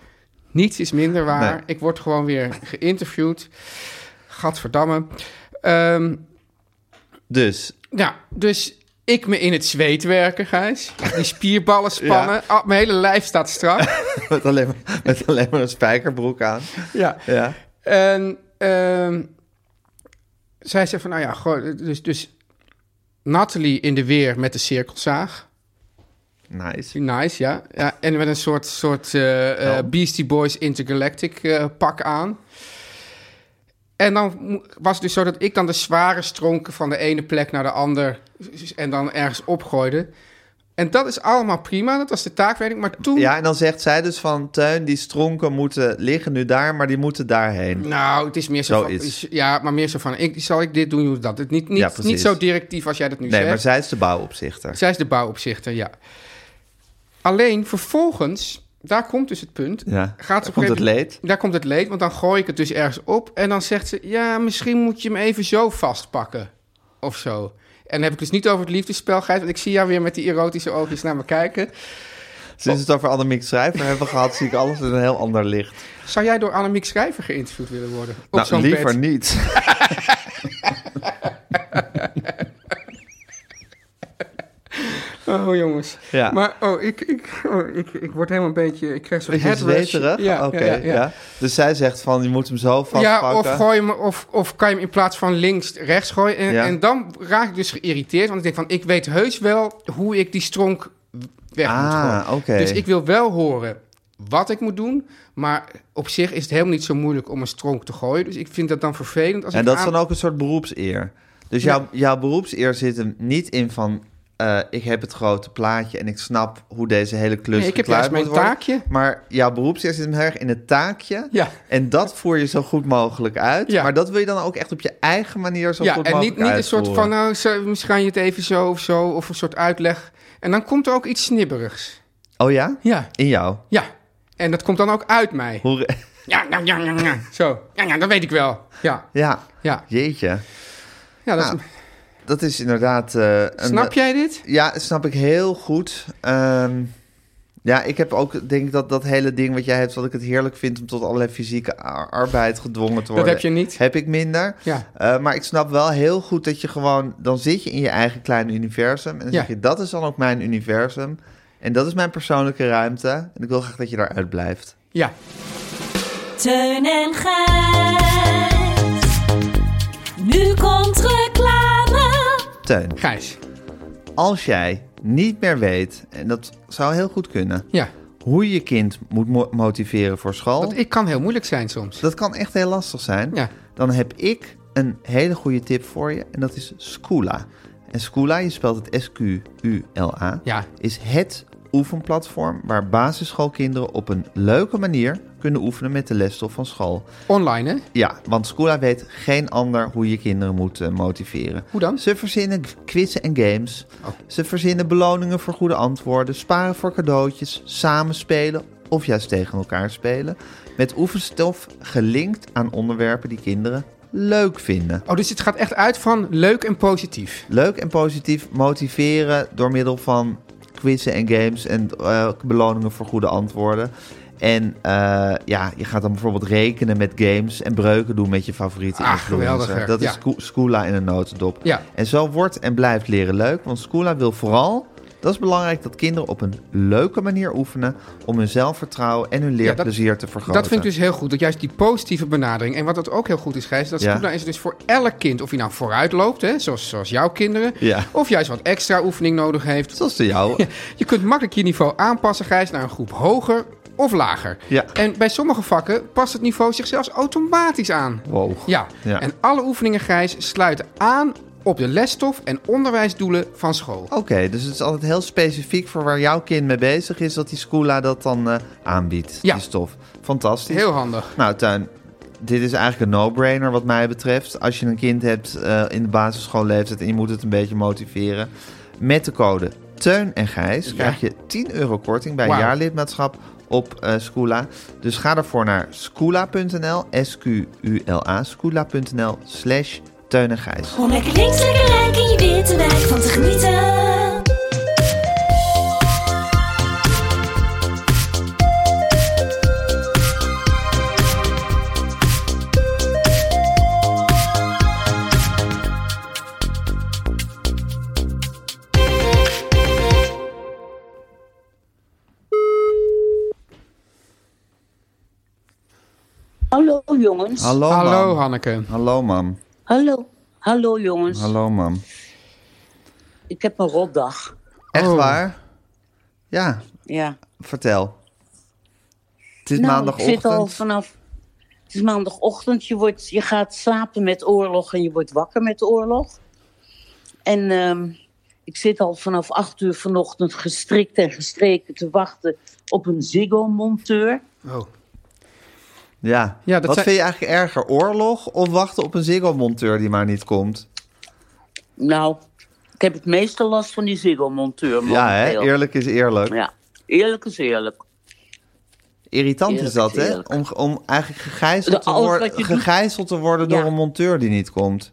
Niets is minder waar. Nee. Ik word gewoon weer geïnterviewd. Gadverdamme. Ehm Dus, Ja, dus ik me in het zweet werken, Gijs. Die spierballen spannen. Ah, mijn hele lijf staat strak. met alleen, maar, met alleen maar een spijkerbroek aan. ja. Ja. En ehm, zij zei van, nou ja, goh, dus, dus Natalie in de weer met de cirkelzaag. Nice. Nice, ja. ja en met een soort, soort eh, eh, Helm. Beastie Boys Intergalactic eh, pak aan. En dan mo- was het dus zo dat ik dan de zware stronken van de ene plek naar de ander s- en dan ergens opgooide. En dat is allemaal prima, dat was de taakverdeling. Maar toen, Ja, en dan zegt zij dus van... Teun, die stronken moeten liggen nu daar, maar die moeten daarheen. nou, het is meer zo Zoiets. van, ja, maar meer zo van, ik, zal ik dit doen, doe dat. Het Niet, niet, Ja, precies. niet zo directief als jij dat nu Nee, zegt. maar zij is de bouwopzichter. Zij is de bouwopzichter, ja. Alleen vervolgens, daar komt dus het punt. Ja, ze daar op een komt het gegeven- leed. Daar komt het leed, want dan gooi ik het dus ergens op. En dan zegt ze, ja, misschien moet je hem even zo vastpakken. Of zo. En dan heb ik dus niet over het liefdespel, Gijs. Want ik zie jou weer met die erotische oogjes naar me kijken. Sinds we het over Annemiek Schrijver hebben gehad... zie ik alles in een heel ander licht. Zou jij door Annemiek Schrijver geïnterviewd willen worden? Op Nou, zo'n liever bed? niet. Oh, jongens. Ja. Maar, oh, ik, ik, oh, ik, ik word helemaal een beetje... Ik krijg zo'n Beetje head rush. zweterig? Ja, Oké, ja, ja, ja. Dus zij zegt van, je moet hem zo vastpakken. Ja, of, gooi hem, of, of kan je hem in plaats van links rechts gooien. En, Ja. en dan raak ik dus geïrriteerd. Want ik denk van, ik weet heus wel hoe ik die stronk weg moet Ah, gooien. oké. Dus ik wil wel horen wat ik moet doen. Maar op zich is het helemaal niet zo moeilijk om een stronk te gooien. Dus ik vind dat dan vervelend. Als En ik dat is aan- dan ook een soort beroepseer. Dus jouw, jouw beroepseer zit hem niet in van... eh, ik heb het grote plaatje en ik snap hoe deze hele klus Nee, ik heb geklaard juist mijn moet worden. taakje. Maar jouw beroepseer zit hem heel erg in het taakje. Ja. En dat voer je zo goed mogelijk uit. Ja. Maar dat wil je dan ook echt op je eigen manier zo Ja, goed en mogelijk niet, niet een soort uitvoeren. van, nou, zo- misschien kan je het even zo of zo. Of een soort uitleg. En dan komt er ook iets snibberigs. Oh ja? Ja. In jou? Ja. En dat komt dan ook uit mij. Hoe... re- Ja, nou, ja, ja, ja, ja. Zo. Ja, ja, dat weet ik wel. Ja, Ja, ja. jeetje. Ja, dat is- Nou, Dat is inderdaad... eh, een, snap jij dit? Ja, dat snap ik heel goed. Ehm, ja, ik heb ook, denk ik, dat, dat hele ding wat jij hebt, wat ik het heerlijk vind om tot allerlei fysieke a- arbeid gedwongen te worden. heb je niet. Heb ik minder. Ja. Eh, maar ik snap wel heel goed dat je gewoon, dan zit je in je eigen kleine universum. En dan Ja. zeg je, dat is dan ook mijn universum. En dat is mijn persoonlijke ruimte. En ik wil graag dat je daaruit blijft. Ja. Teun en Gijs. Nu komt reclame. Teun, Gijs. als jij niet meer weet, en dat zou heel goed kunnen, Ja. hoe je kind moet mo- motiveren voor school. Dat ik kan heel moeilijk zijn soms. Dat kan echt heel lastig zijn. Ja. Dan heb ik een hele goede tip voor je. En dat is Skoola. En Skoola, je spelt het S-Q-U-L-A, Ja. is het oefenplatform waar basisschoolkinderen op een leuke manier kunnen oefenen met de lesstof van school. Online, hè? Ja, want Skoola weet geen ander hoe je kinderen moet eh, motiveren. Hoe dan? Oh. Ze verzinnen quizzen en games. Ze verzinnen beloningen voor goede antwoorden, sparen voor cadeautjes, samenspelen of juist tegen elkaar spelen. Met oefenstof gelinkt aan onderwerpen die kinderen leuk vinden. Oh, dus het gaat echt uit van leuk en positief. Leuk en positief motiveren door middel van quizzen en games en eh, beloningen voor goede antwoorden. En eh, ja, je gaat dan bijvoorbeeld rekenen met games en breuken doen met je favoriete Ah, influencer. geweldig, Dat ja. is Sco- Skoola in een notendop. Ja. En zo wordt en blijft leren leuk, want Skoola wil vooral... Dat is belangrijk dat kinderen op een leuke manier oefenen om hun zelfvertrouwen en hun leerplezier te vergroten. Dat vind ik dus heel goed. Dat juist die positieve benadering. En wat dat ook heel goed is, Gijs, dat Ja. Scoola is dus voor elk kind, of hij nou vooruit loopt, hè, zoals, zoals jouw kinderen, Ja. of juist wat extra oefening nodig heeft. Zoals de jouwe. Ja, je kunt makkelijk je niveau aanpassen, Gijs, naar een groep hoger of lager. Ja. En bij sommige vakken past het niveau zich zelfs automatisch aan. Wow. Ja. Ja. en alle oefeningen, Gijs, sluiten aan op de lesstof en onderwijsdoelen van school. Oké, dus het is altijd heel specifiek voor waar jouw kind mee bezig is, dat die Skoola dat dan eh, aanbiedt, Ja. die stof. Fantastisch. Heel handig. Nou, Tuin, dit is eigenlijk een no-brainer wat mij betreft. Als je een kind hebt eh, in de basisschoolleeftijd en je moet het een beetje motiveren. Met de code Teun en Gijs krijg je 10 euro korting bij een Wauw. jaarlidmaatschap op eh Skoola. Dus ga daarvoor naar skoola.nl, S-Q-U-L-A, skoola.nl slash Teun en Gijs. Om lekker links, lekker rijk in je witte wijk van te genieten. Hallo jongens. Hallo, Hallo, mam. Hanneke. Hallo, mam. Hallo. Hallo, jongens. Hallo, mam. Ik heb een rotdag. Echt Oh. waar? Ja, Ja. vertel. Het is Nou, Ik maandagochtend. zit al vanaf. Het is maandagochtend. Je, wordt, je gaat slapen met oorlog en je wordt wakker met oorlog. En ehm, ik zit al vanaf acht uur vanochtend gestrikt en gestreken te wachten op een Ziggo-monteur. Oh. Ja. Ja, dat Wat zijn- vind je eigenlijk erger? Oorlog of wachten op een Ziggo-monteur die maar niet komt? Nou, ik heb het meeste last van die Ziggo-monteur. Ja, hè? momenteel. eerlijk is eerlijk. Ja, eerlijk is eerlijk. Irritant is Eerlijk dat, is hè? eerlijk. Om, om eigenlijk gegijzeld, Dat te, alles worden- wat je doet- gegijzeld te worden Ja. door een monteur die niet komt.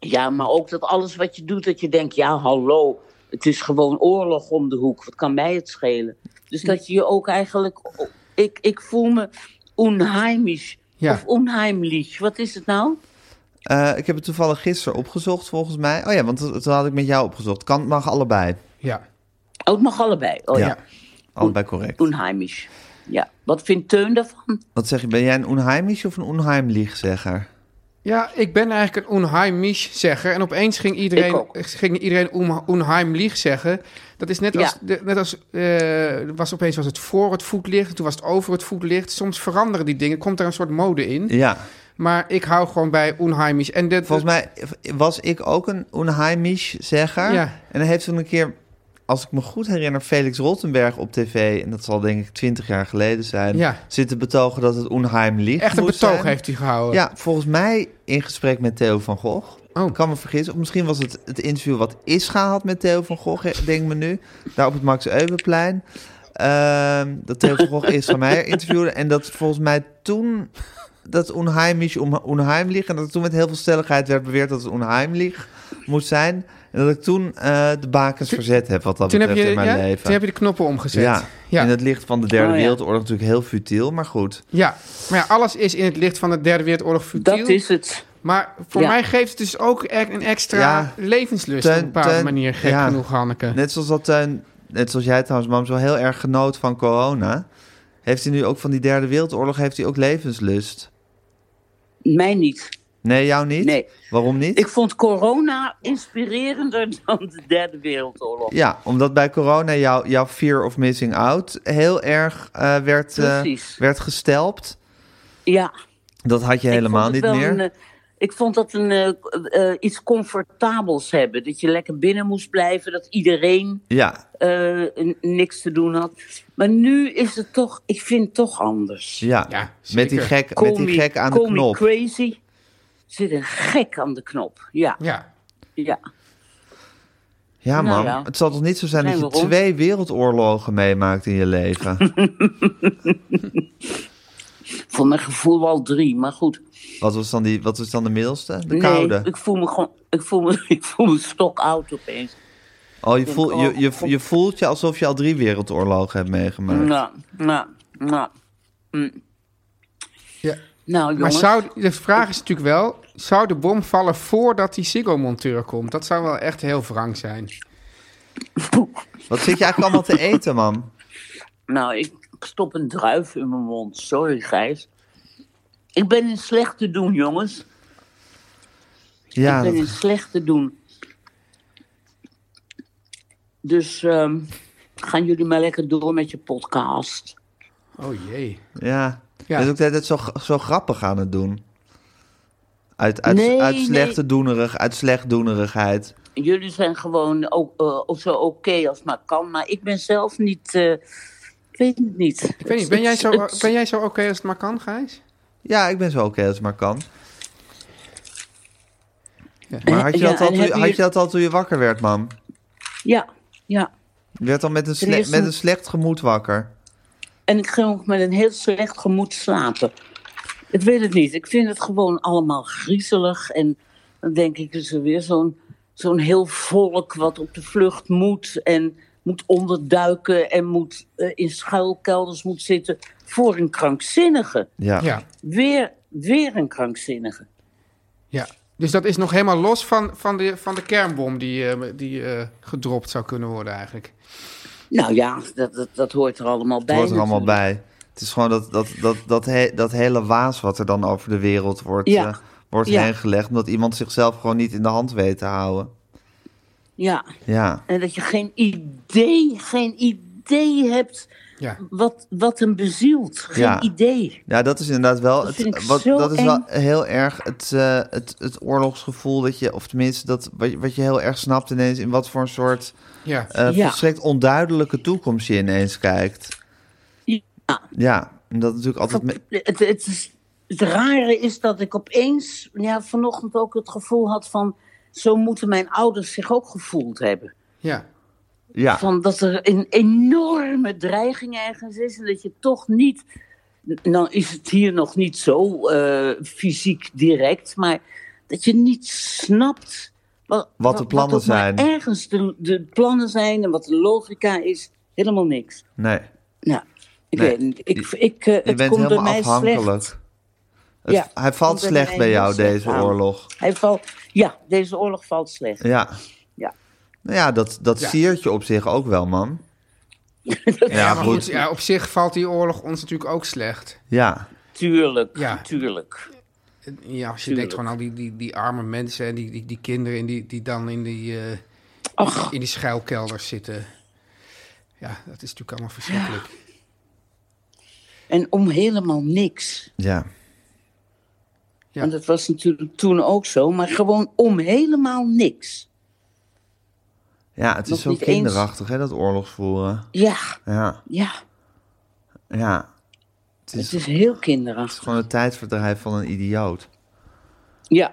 Ja, maar ook dat alles wat je doet, dat je denkt, ja, hallo, het is gewoon oorlog om de hoek. Wat kan mij het schelen? Dus dat je je ook eigenlijk, ik, ik voel me onheimisch. Ja. Of onheimlich. Wat is het nou? Eh, ik heb het toevallig gisteren opgezocht, volgens mij. Oh ja, want dat, dat had ik met jou opgezocht. Kan, mag allebei. Ja. Oh, het mag allebei. Oh ja, Allebei correct. onheimisch. Ja, wat vindt Teun daarvan? Wat zeg je, ben jij een onheimisch of een onheimliegzegger? Ja, ik ben eigenlijk een onheimisch zeggen. En opeens ging Ik iedereen, ook. ging iedereen on- onheimlich zeggen. Dat is net als, Ja. de- net als eh, was opeens was het voor het voetlicht, toen was het over het voetlicht. Soms veranderen die dingen, komt er een soort mode in. Ja, Maar ik hou gewoon bij onheimisch. En dit, Volgens mij was ik ook een onheimisch-zegger. Ja. En dan heeft toen een keer, als ik me goed herinner, Felix Rottenberg op tv... en dat zal denk ik twintig jaar geleden zijn... Ja. zitten betogen dat het onheimlich echt een moest betoog zijn. heeft hij gehouden. Ja, volgens mij in gesprek met Theo van Gogh. Oh. Ik kan me vergissen. Of misschien was het het interview wat Ischa had met Theo van Gogh, eh, denk ik me nu. Daar op het Max Euweplein. Ehm, dat Theo van Gogh Ischa Meijer interviewde. En dat volgens mij toen dat onheimisch om onheimlich... en dat er toen met heel veel stelligheid werd beweerd dat het onheimlich moest zijn... en dat ik toen eh, de bakens verzet heb wat dat Toen heb, betreft je, in mijn ja, leven. toen heb je de knoppen omgezet. ja, ja. in het licht van de derde Oh, ja. wereldoorlog natuurlijk heel futiel, maar goed. Ja. maar ja, alles is in het licht van de Derde Wereldoorlog futiel. Dat is het. Maar voor Ja. mij geeft het dus ook echt een extra Ja. levenslust op Teun- een bepaalde Teun- manier. Gek ja. genoeg, Hanneke. Net zoals dat Teun, net zoals jij trouwens, mam, zo heel erg genoot van corona. Heeft hij nu ook van die derde wereldoorlog, heeft hij ook levenslust? Mij niet. Nee, jou niet? Nee. Waarom niet? Ik vond corona inspirerender dan de Derde Wereldoorlog. Ja, omdat bij corona jou, jouw fear of missing out heel erg eh, werd, eh, Precies. werd gestelpt. Ja. Dat had je helemaal Ik niet vond het meer. wel een, eh, Ik vond dat een, eh, eh, iets comfortabels hebben. Dat je lekker binnen moest blijven. Dat iedereen Ja, eh, n- niks te doen had. Maar nu is het toch, ik vind het toch anders. ja. Ja, zeker. met, die gek, Call met die me- gek aan de call me knop. crazy. Er zit een gek aan de knop. Ja, Ja. ja. Ja, Nou man. ja. Het zal toch niet zo zijn Zijn dat we je rond? twee wereldoorlogen meemaakt in je leven? Voor mijn gevoel wel drie, maar goed. wat, was dan die, wat was dan de middelste? De nee, koude. ik voel me gewoon, ik voel me, ik voel me stokoud opeens. Oh, je, voel, oh, je, je, God. je voelt je alsof je al drie wereldoorlogen hebt meegemaakt. Nou, nou, nou. Mm. Ja. Nou, Maar jongens. zou, de vraag is natuurlijk wel, zou de bom vallen voordat die Siggo-monteur komt? Dat zou wel echt heel wrang zijn. Wat zit je eigenlijk allemaal te eten, man? Nou, ik stop een druif in mijn mond. Sorry, Gijs. Ik ben in slecht te doen, jongens. Ja, ik ben dat- in slecht te doen. Dus ehm, gaan jullie maar lekker door met je podcast. Oh jee. ja. Ja. Je is ook de hele tijd zo, zo grappig aan het doen. Uit, uit, Nee, uit, nee. slechte doenerig, uit slechtdoenerigheid. Jullie zijn gewoon ook, eh, ook zo oké als maar kan. Maar ik ben zelf niet... eh, ik weet het niet. Ik weet niet, ben jij zo, ben jij zo oké als het maar kan, Gijs? Ja, ik ben zo oké als het maar kan. Maar had je, Ja, dat al en toen, je- hebben had je jullie- dat al toen je wakker werd, man? Ja, ja. Je werd al met een, sle- Er is met een- een slecht gemoed wakker. En ik ging ook met een heel slecht gemoed slapen. Ik weet het niet. Ik vind het gewoon allemaal griezelig. En dan denk ik, is er weer zo'n zo'n heel volk wat op de vlucht moet. En moet onderduiken en moet eh, in schuilkelders moet zitten voor een krankzinnige. Ja. Ja. Weer, weer een krankzinnige. ja. Dus dat is nog helemaal los van, van, de, van de kernbom die, eh, die eh, gedropt zou kunnen worden eigenlijk. Nou ja, dat, dat, dat hoort er allemaal bij. Het hoort er allemaal natuurlijk. bij. Het is gewoon dat, dat, dat, dat, he- dat hele waas wat er dan over de wereld wordt, Ja. eh, wordt Ja. heen gelegd. Omdat iemand zichzelf gewoon niet in de hand weet te houden. Ja, Ja, en dat je geen idee, geen idee hebt Ja. wat, wat hem bezielt. Geen Ja. idee. ja dat is inderdaad wel. Dat vind ik wat, zo dat is eng. wel heel erg het, eh, het, het oorlogsgevoel dat je, of tenminste, dat, wat, je- wat je heel erg snapt ineens in wat voor een soort Ja. eh, Ja. volstrekt onduidelijke toekomst je ineens kijkt. Ja. Ja, en dat natuurlijk altijd. me- Het, het, is- het rare is dat ik opeens ja, vanochtend ook het gevoel had van... zo moeten mijn ouders zich ook gevoeld hebben. Ja. ja. Van dat er een enorme dreiging ergens is en dat je toch niet... Nou is het hier nog niet zo eh, fysiek direct, maar dat je niet snapt... wa- wa- Wat de plannen ook maar zijn. Ergens de, de plannen zijn en wat de logica is, helemaal niks. Nee, Nou, ik Nee, weet niet. Ik, je- ik, eh, je het bent komt bij helemaal mij afhankelijk. slecht. Het- Ja, hij valt komt bij slecht mij bij heel jou, slecht deze aan. oorlog. Hij valt, ja, deze oorlog valt slecht. Ja. Ja. Nou ja, dat, dat Ja. siert je op zich ook wel, man. Ja, maar goed. goed. ja, op zich valt die oorlog ons natuurlijk ook slecht. Ja, Tuurlijk, Ja. tuurlijk. Ja, als je Tuurlijk. denkt gewoon al die, die, die arme mensen en die, die, die kinderen in die, die dan in die, eh, Ach, in die schuilkelders zitten. Ja, dat is natuurlijk allemaal verschrikkelijk. en om helemaal niks. ja. Ja. En dat was natuurlijk toen ook zo, maar gewoon om helemaal niks. Ja, het Nog is zo niet eens. kinderachtig, hè, dat oorlogsvoeren. Ja, Ja, ja. ja. Het is, Het is heel kinderachtig. gewoon het tijdverdrijf van een idioot. Ja,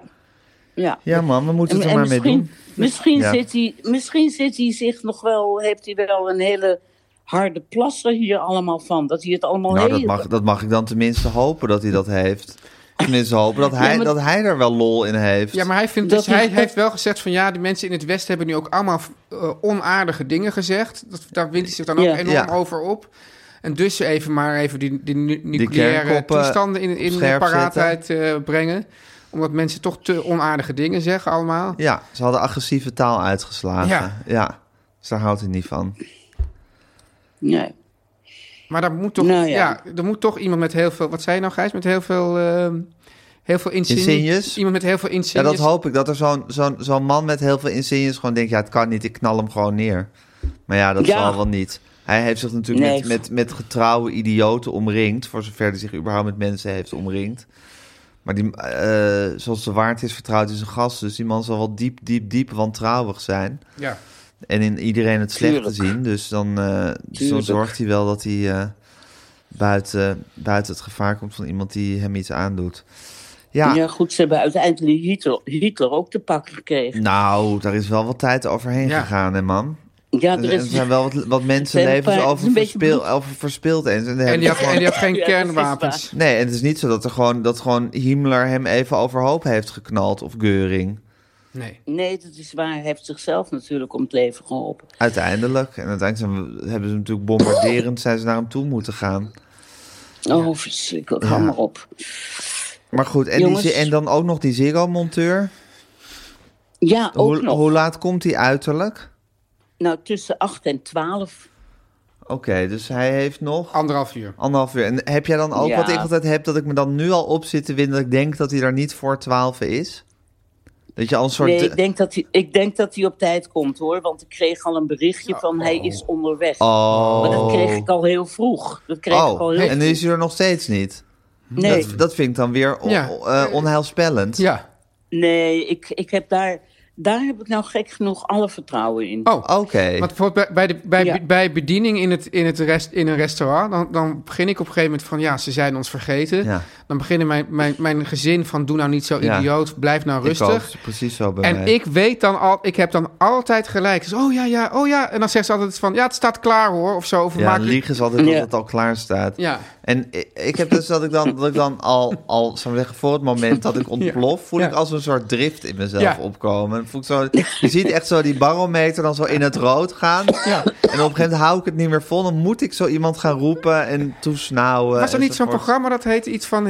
ja. Ja, man, we moeten het er maar mee misschien, doen. Misschien, Ja. zit hij, misschien zit hij zich nog wel, heeft hij wel een hele harde plasser hier allemaal van. Dat hij het allemaal Nou, dat heel- mag, dat mag ik dan tenminste hopen dat hij dat heeft. Tenminste hopen dat hij, maar- dat hij er wel lol in heeft. Ja, maar hij, vindt Dat dus, hij is- heeft wel gezegd van ja, de mensen in het Westen hebben nu ook allemaal eh, onaardige dingen gezegd. Dat, daar wint hij zich dan ook Ja. enorm Ja. over op. En dus even maar even die, die nu- nucleaire kernkoppen toestanden in, in scherp paraatheid eh, brengen. Omdat mensen toch te onaardige dingen zeggen allemaal. Ja, ze hadden agressieve taal uitgeslagen. Ja. Ja. Dus daar houdt hij niet van. Nee. Maar daar moet toch, Nou ja. ja. er moet toch iemand met heel veel, wat zei je nou Gijs, met heel veel, ehm, heel veel insignes. Insignes? Iemand met heel veel Ja, insignes. dat hoop ik. Dat er zo'n zo'n zo'n man met heel veel insignes gewoon denkt... ja, het kan niet, ik knal hem gewoon neer. Maar ja, dat Ja. zal wel niet. Hij heeft zich natuurlijk Nee. met, met, met getrouwe idioten omringd... voor zover hij zich überhaupt met mensen heeft omringd. Maar die, eh, zoals de waard is vertrouwd is een gast. Dus die man zal wel diep, diep, diep wantrouwig zijn. Ja. En in iedereen het slechte Tuurlijk. zien. Dus dan eh, zo Tuurlijk. zorgt hij wel dat hij eh, buiten, buiten het gevaar komt van iemand die hem iets aandoet. Ja. Ja, goed, ze hebben uiteindelijk Hitler, Hitler ook te pakken gekregen. nou, daar is wel wat tijd overheen Ja. gegaan, hè, man. Ja, Er, er er is... zijn wel wat, wat Er zijn mensenlevens een paar- over, een beetje verspil, bloed. over verspild. En, ze hebben En die had, gewoon- en die had geen Ja, dat is kernwapens. Nee, en het is niet zo dat, er gewoon, dat gewoon Himmler hem even overhoop heeft geknald of Geuring. Nee. Nee, dat is waar. Hij heeft zichzelf natuurlijk om het leven geholpen. Uiteindelijk. En uiteindelijk zijn we- hebben ze hem natuurlijk bombarderend zijn ze naar hem toe moeten gaan. Oh, verschrikkelijk. Hou Ja. maar op. Maar goed, en, die, Jongens. zi- en dan ook nog die Ziggo-monteur. Ja, ook Hoe, nog. hoe laat komt die uiterlijk? Nou, tussen 8 en 12. Oké, dus hij heeft nog Anderhalf uur. anderhalf uur. En heb jij dan ook Ja. wat ik altijd heb, dat ik me dan nu al op zit te winden... dat ik denk dat hij daar niet voor twaalf is? Dat je al een soort... Nee, ik denk, dat hij, ik denk dat hij op tijd komt hoor. Want ik kreeg al een berichtje van hij is onderweg. Oh. Maar dat kreeg ik al heel vroeg. Dat kreeg ik al Oh, heel en is hij er nog steeds niet? Nee, Dat, dat vind ik dan weer on- Ja. eh, onheilspellend. Ja. nee ik, ik heb daar, daar heb ik nou gek genoeg alle vertrouwen in. Oh. Oké. Want bijvoorbeeld bij, bij, de, bij, Ja. bij bediening in, het, in, het rest, in een restaurant, dan, dan begin ik op een gegeven moment van ja, ze zijn ons vergeten. Ja. Dan beginnen mijn, mijn, mijn gezin van doe nou niet zo Ja. idioot, blijf nou Ik ook, rustig. het is precies zo bij En mij. ik weet dan al, ik heb dan altijd gelijk. Dus, oh ja, ja, oh ja. En dan zegt ze altijd van ja, het staat klaar hoor, of zo. Of we ja, maken- liegen is altijd Ja. dat het al klaar staat. Ja. En ik, ik heb dus dat ik dan, dat ik dan al, al zou ik zeggen, voor het moment dat ik ontplof, voel Ja. ik als een soort drift in mezelf Ja. opkomen. En Voel ik zo, je ziet echt zo die barometer dan zo in het rood gaan. En op een gegeven moment hou ik het niet meer vol. Dan moet ik zo iemand gaan roepen en toesnauwen. Was er niet zo'n enzovoort. programma dat heette iets van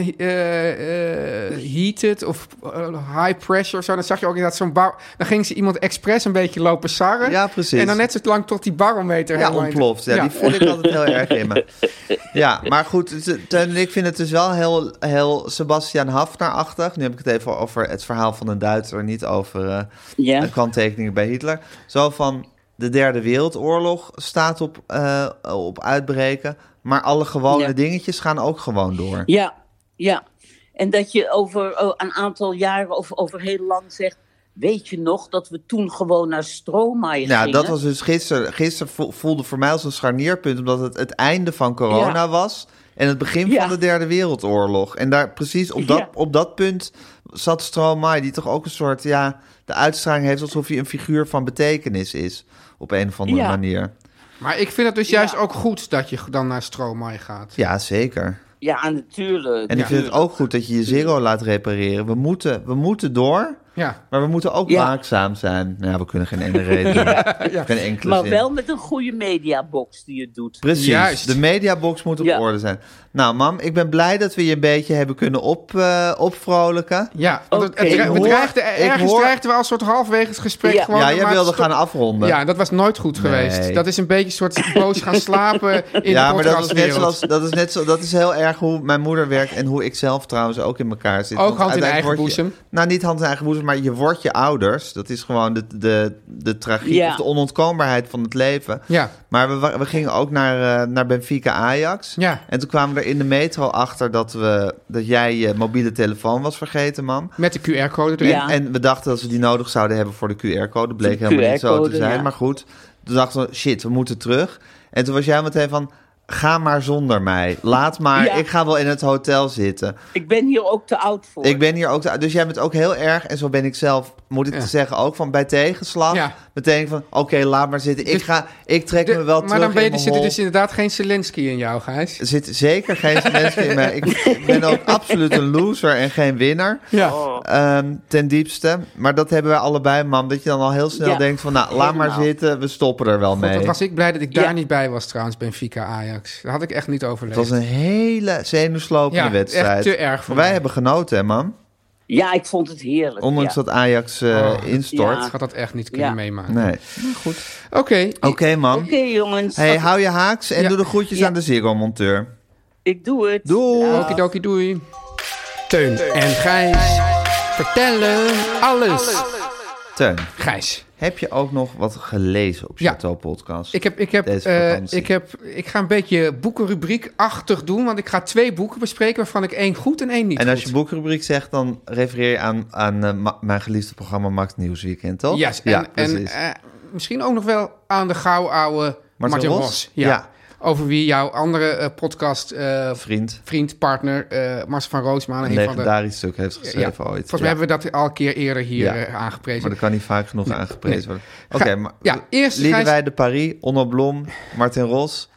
eh, eh, Heated of eh, High Pressure of zo? Dan zag je ook inderdaad zo'n bar. Dan ging ze iemand expres een beetje lopen sarren. Ja, precies. En dan net zo lang tot die barometer Ja, helemaal in- ontploft. Ja, die voel ik altijd heel erg in me. Ja, maar goed, het- Teun en ik vinden het dus wel heel, heel Sebastian Hafner-achtig. Nu heb ik het even over het verhaal van een Duitser, niet over eh, Ja. eh, kanttekeningen bij Hitler. Zo van, de derde wereldoorlog staat op, eh, op uitbreken, maar alle gewone Ja. dingetjes gaan ook gewoon door. Ja, ja. En dat je over eh, een aantal jaren of over heel lang zegt... Weet je nog dat we toen gewoon naar Stromae Nou, gingen? dat was dus gisteren. Gisteren vo- voelde voor mij als een scharnierpunt, omdat het het einde van corona Ja. was. En het begin Ja. van de Derde Wereldoorlog. En daar precies op dat, Ja. op dat punt zat Stromae, die toch ook een soort, ja, de uitstraling heeft alsof hij een figuur van betekenis is. Op een of andere Ja. manier. Maar ik vind het dus juist Ja. ook goed dat je dan naar Stromae gaat. Ja, zeker. Ja, natuurlijk. En ik vind het natuurlijk. ook goed dat je je zero laat repareren. We moeten, we moeten door, Ja. maar we moeten ook Ja. waakzaam zijn. Nou, ja, we kunnen geen ene reden. Geen enkele Maar zin. wel met een goede mediabox die het doet. Precies, Juist. de mediabox moet op Ja. orde zijn. Nou, mam, ik ben blij dat we je een beetje hebben kunnen op, eh, opvrolijken. Ja, want het, het Oké, dre- ik we hoor- dreigden- ik ergens hoor- dreigden we al een soort halfwege het gesprek Ja. gewoon... ja, maar jij het wilde sto- gaan afronden. Ja, dat was nooit goed Nee. geweest. Dat is een beetje een soort boos gaan slapen in Ja, de maar dat is, net podcastwereld. zoals, dat is net zo. Dat is heel erg hoe mijn moeder werkt en hoe ik zelf trouwens ook in elkaar zit. Ook Want hand in uiteindelijk eigen word je- boezem. nou, niet hand in eigen boezem, maar je wordt je ouders. Dat is gewoon de, de, de tragiek Ja. of de onontkoombaarheid van het leven. Ja. Maar we, wa- we gingen ook naar, eh, naar Benfica Ajax. Ja. En toen kwamen we er in de metro achter dat, we, dat jij je mobiele telefoon was vergeten, mam. Met de QR-code erin. Ja. En we dachten dat we die nodig zouden hebben voor de QR-code. Bleek helemaal niet zo te QR-code, zijn. ja. Maar goed, toen dachten we, shit, we moeten terug. En toen was jij meteen van, ga maar zonder mij. Laat maar, Ja. ik ga wel in het hotel zitten. Ik ben hier ook te oud voor. Ik ben hier ook, te- dus jij bent ook heel erg, en zo ben ik zelf, moet ik Ja. zeggen, ook van bij tegenslag. Ja. Meteen van, oké, laat maar zitten. Ik, Dus- ga, ik trek De- me wel terug maar dan ben je, in mijn dus- zit er hol. dus inderdaad geen Zelensky in jou, Gijs. Er zit zeker geen mensen in mij. Ik ben ook absoluut een loser en geen winnaar. Ja. Oh. Ehm, ten diepste. Maar dat hebben wij allebei, mam. Dat je dan al heel snel Ja, denkt van, nou, laat maar helemaal. zitten. We stoppen er wel mee. Dat was ik blij dat ik daar Ja. niet bij was trouwens, Benfica Ajax. Dat had ik echt niet Het overleefd. was een hele zenuwslopende Ja, wedstrijd. echt te erg voor Wij mij. hebben genoten, hè, mam. Ja, ik vond het heerlijk. Ondanks ja. dat Ajax eh, Oh. instort. Ja. Ik had dat echt niet kunnen Ja. meemaken. Nee. Oké. Oké, mam. Oké jongens, Hey, hou je haaks en Ja. doe de groetjes Ja. aan de Ziggo-monteur. ik doe het. Doei. Dag. Okidoki, doei. Teun en Gijs vertellen alles. Teun, Gijs, Heb je ook nog wat gelezen op Ja. Chateau Podcast? Ik, heb, ik, heb, Deze eh, vakantie. ik, heb, ik ga een beetje boekenrubriek-achtig doen, want ik ga twee boeken bespreken waarvan ik één goed en één niet en als goed. je boekrubriek zegt, dan refereer je aan, aan eh, ma- mijn geliefde programma Max Nieuwsweekend, toch? Yes, en, ja, en precies. eh, misschien ook nog wel aan de gauw oude Martin, Ros. Ja. Ja. Over wie jouw andere eh, podcast, eh, Vriend. vriend, partner, eh Marcel van Roosmalen... Een een van de- legendarisch stuk heeft Ja, geschreven ooit. Volgens mij Ja. hebben we dat al een keer eerder hier Ja. eh, Maar aangeprezen. dat kan niet vaak genoeg aangeprezen nee. worden. Ga- Oké, maar ja, eerst ga je- Liedewij de Paris, Onno Blom, Martin Ros.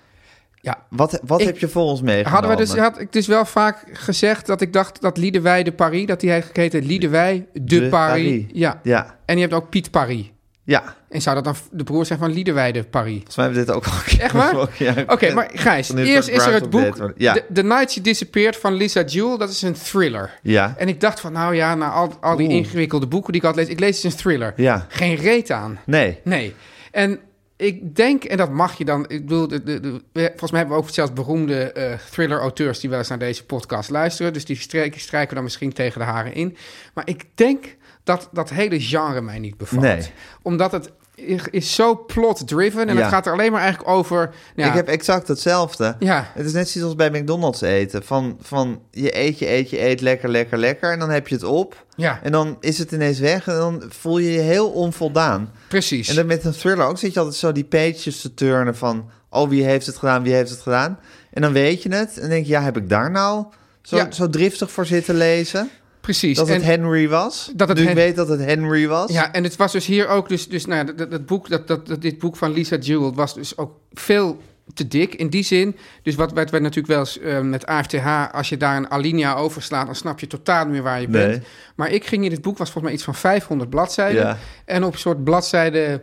Ja. Wat, wat Ik- heb je voor ons meegenomen? Hadden we dus, had ik dus wel vaak gezegd dat ik dacht dat Liedewij de Paris, dat die heeft geketen Liedewij de, De Paris. Paris. Ja. Ja, En je hebt ook Piet Paris. ja. Volgens En zou dat dan de broer zijn van Liedewij de Paris? mij hebben we dit ook al een keer Echt waar? besproken. Ja, Oké, maar Gijs, Van dit eerst soort is er het roundup boek date, maar- Ja, The, The Night She Disappeared van Lisa Jewell. Dat is een thriller. ja. En ik dacht van, nou ja, na al, al die Oeh. ingewikkelde boeken die ik had lees, ik lees eens een thriller. Ja. Geen reet aan. Nee. Nee. En ik denk, en dat mag je dan. Ik bedoel, de, de, de- we- volgens mij hebben we ook zelfs beroemde eh, thriller-auteurs die wel eens naar deze podcast luisteren. Dus die strijk- strijken dan misschien tegen de haren in. Maar ik denk dat dat hele genre mij niet bevalt. Nee. Omdat het i- is zo plot-driven en Ja. het gaat er alleen maar eigenlijk over. nou Ja, Ik heb exact hetzelfde. Ja. Het is net zoiets als bij McDonald's eten. Van, van je eet, je eet, je eet, lekker, lekker, lekker. En dan heb je het op. Ja. En dan is het ineens weg. En dan voel je je heel onvoldaan. precies. En dan met een thriller ook zit je altijd zo die pages te turnen van... oh, wie heeft het gedaan, wie heeft het gedaan? En dan weet je het en denk je, ja, heb ik daar nou zo, Ja. zo driftig voor zitten lezen? precies. Dat het En- Henry was? Dat het nu ik Hen- weet dat het Henry was? Ja, en het was dus hier ook, dus, dus nou, ja, dat, dat boek, dat, dat, dat, dit boek van Lisa Jewell was dus ook veel te dik in die zin. Dus wat werd werd natuurlijk wel eens eh, met AFTH, als je daar een alinea overslaat, dan snap je totaal niet meer waar je Nee. bent. Maar ik ging in dit boek, was volgens mij iets van 500 bladzijden. Ja. En op soort bladzijde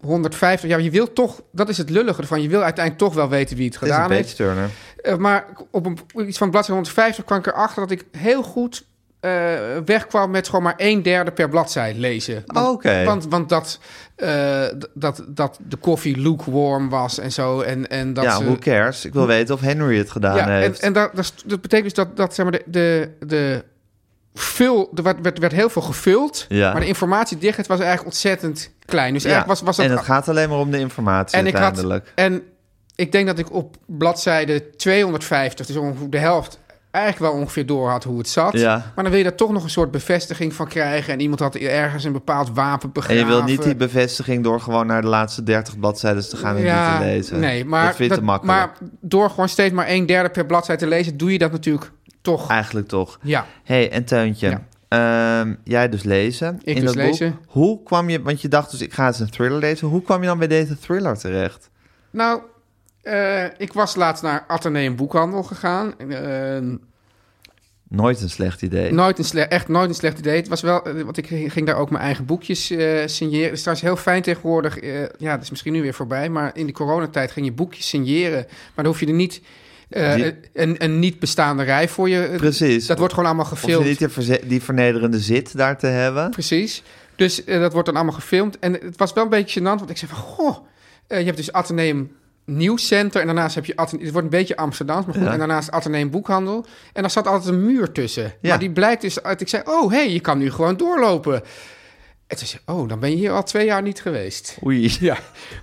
150, ja, je wil toch, dat is het lullige ervan, je wil uiteindelijk toch wel weten wie het het is een gedaan page heeft. turner. Eh, maar op een, iets van bladzijde 150 kwam ik erachter dat ik heel goed eh, wegkwam met gewoon maar een derde per bladzijde lezen. Want, Oh, Oké. want, want dat, eh, d- dat, dat de koffie lukewarm was en zo. En, en dat ja, ze, who cares? Ik wil weten of Henry het gedaan ja, en, heeft. en dat, dat, is- dat betekent dus dat, dat zeg maar, de, de, de vul, er werd, werd, werd heel veel gevuld, Ja. maar de informatiedichtheid was eigenlijk ontzettend klein. Dus Ja, eigenlijk was, was dat en het gaat alleen maar om de informatie en ik had uiteindelijk. en ik denk dat ik op bladzijde 250, dus ongeveer de helft, eigenlijk wel ongeveer door had hoe het zat. Ja. Maar dan wil je daar toch nog een soort bevestiging van krijgen. En iemand had ergens een bepaald wapen En je begraven. wil niet die bevestiging door gewoon naar de laatste 30 bladzijden te gaan en ja, niet te lezen. Nee, maar, dat vind je te dat- makkelijk. maar door gewoon steeds maar een derde per bladzijde te lezen, doe je dat natuurlijk toch. Eigenlijk toch. Ja. hey, en Teuntje. Ja. Ehm, jij dus lezen. Ik in dus dat boek. lezen. Hoe kwam je, want je dacht dus ik ga eens een thriller lezen. Hoe kwam je dan bij deze thriller terecht? Nou, eh, ik was laatst naar Atheneum Boekhandel gegaan. Eh, Nooit een slecht idee. Nooit een sle- echt nooit een slecht idee. Het was wel, eh, want ik ging daar ook mijn eigen boekjes eh, signeren. Het is trouwens heel fijn tegenwoordig. eh, ja, dat is misschien nu weer voorbij. Maar in de coronatijd ging je boekjes signeren. Maar dan hoef je er niet eh, Die- een, een niet bestaande rij voor je. eh, Precies. Dat wordt gewoon allemaal of je gefilmd. niet die, verze- die vernederende zit daar te hebben. Precies. Dus eh, dat wordt dan allemaal gefilmd. En het was wel een beetje gênant, want ik zei van... Goh, eh, je hebt dus Atheneum Nieuwscenter en daarnaast heb je... Athene- het wordt een beetje Amsterdams, maar goed. Ja. En daarnaast Atheneum Boekhandel. En daar zat altijd een muur tussen. Ja. Maar die blijkt dus uit... Ik zei, oh, hé, hey, je kan nu gewoon doorlopen. En toen zei ik, oh, dan ben je hier al twee jaar niet geweest. Oei. Ja.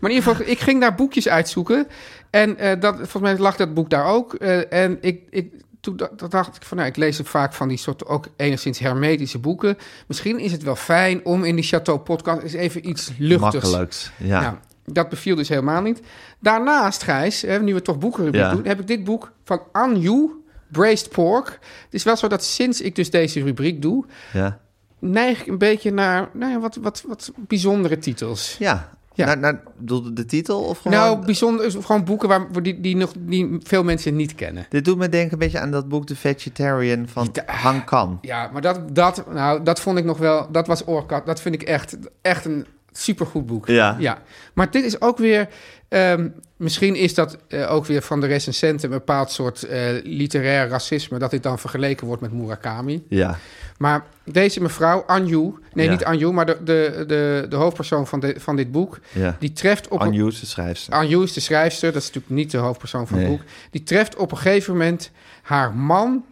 Maar in ieder geval, ik ging daar boekjes uitzoeken. En eh, dat, volgens mij lag dat boek daar ook. Eh, en ik, ik, toen da- dat dacht ik van, nou, ik lees ook vaak van die soort ook enigszins hermetische boeken. Misschien is het wel fijn om in die Chateau podcast eens even iets luchtigs. Makkelijks. Ja. Ja, dat beviel dus helemaal niet. Daarnaast, Gijs, hè, nu we toch boekenrubriek Ja. doen, heb ik dit boek van Anju, Braised Pork. Het is wel zo dat sinds ik dus deze rubriek doe, Ja. neig ik een beetje naar nou ja, wat, wat, wat bijzondere titels. ja. Ja. Naar, naar, bedoelde de titel of gewoon... Nou, bijzonder, gewoon boeken waar, waar die, die, nog, die veel mensen niet kennen. dit doet me denken een beetje aan dat boek The Vegetarian van Ja. Han Kan. Ja, maar dat, dat, nou, dat vond ik nog wel, dat was Oorkat. Dat vind ik echt, echt een supergoed boek. Ja. ja. Maar dit is ook weer, ehm, misschien is dat eh, ook weer van de recensenten een bepaald soort eh, literair racisme, dat dit dan vergeleken wordt met Murakami. Ja. Maar deze mevrouw, Anju, nee Ja. niet Anju, maar de, de, de, de hoofdpersoon van, de, van dit boek, Ja. die treft op Ah. een- Unused schrijfster. Anjou is de schrijfster, dat is natuurlijk niet de hoofdpersoon van het Nee. boek. Die treft op een gegeven moment haar man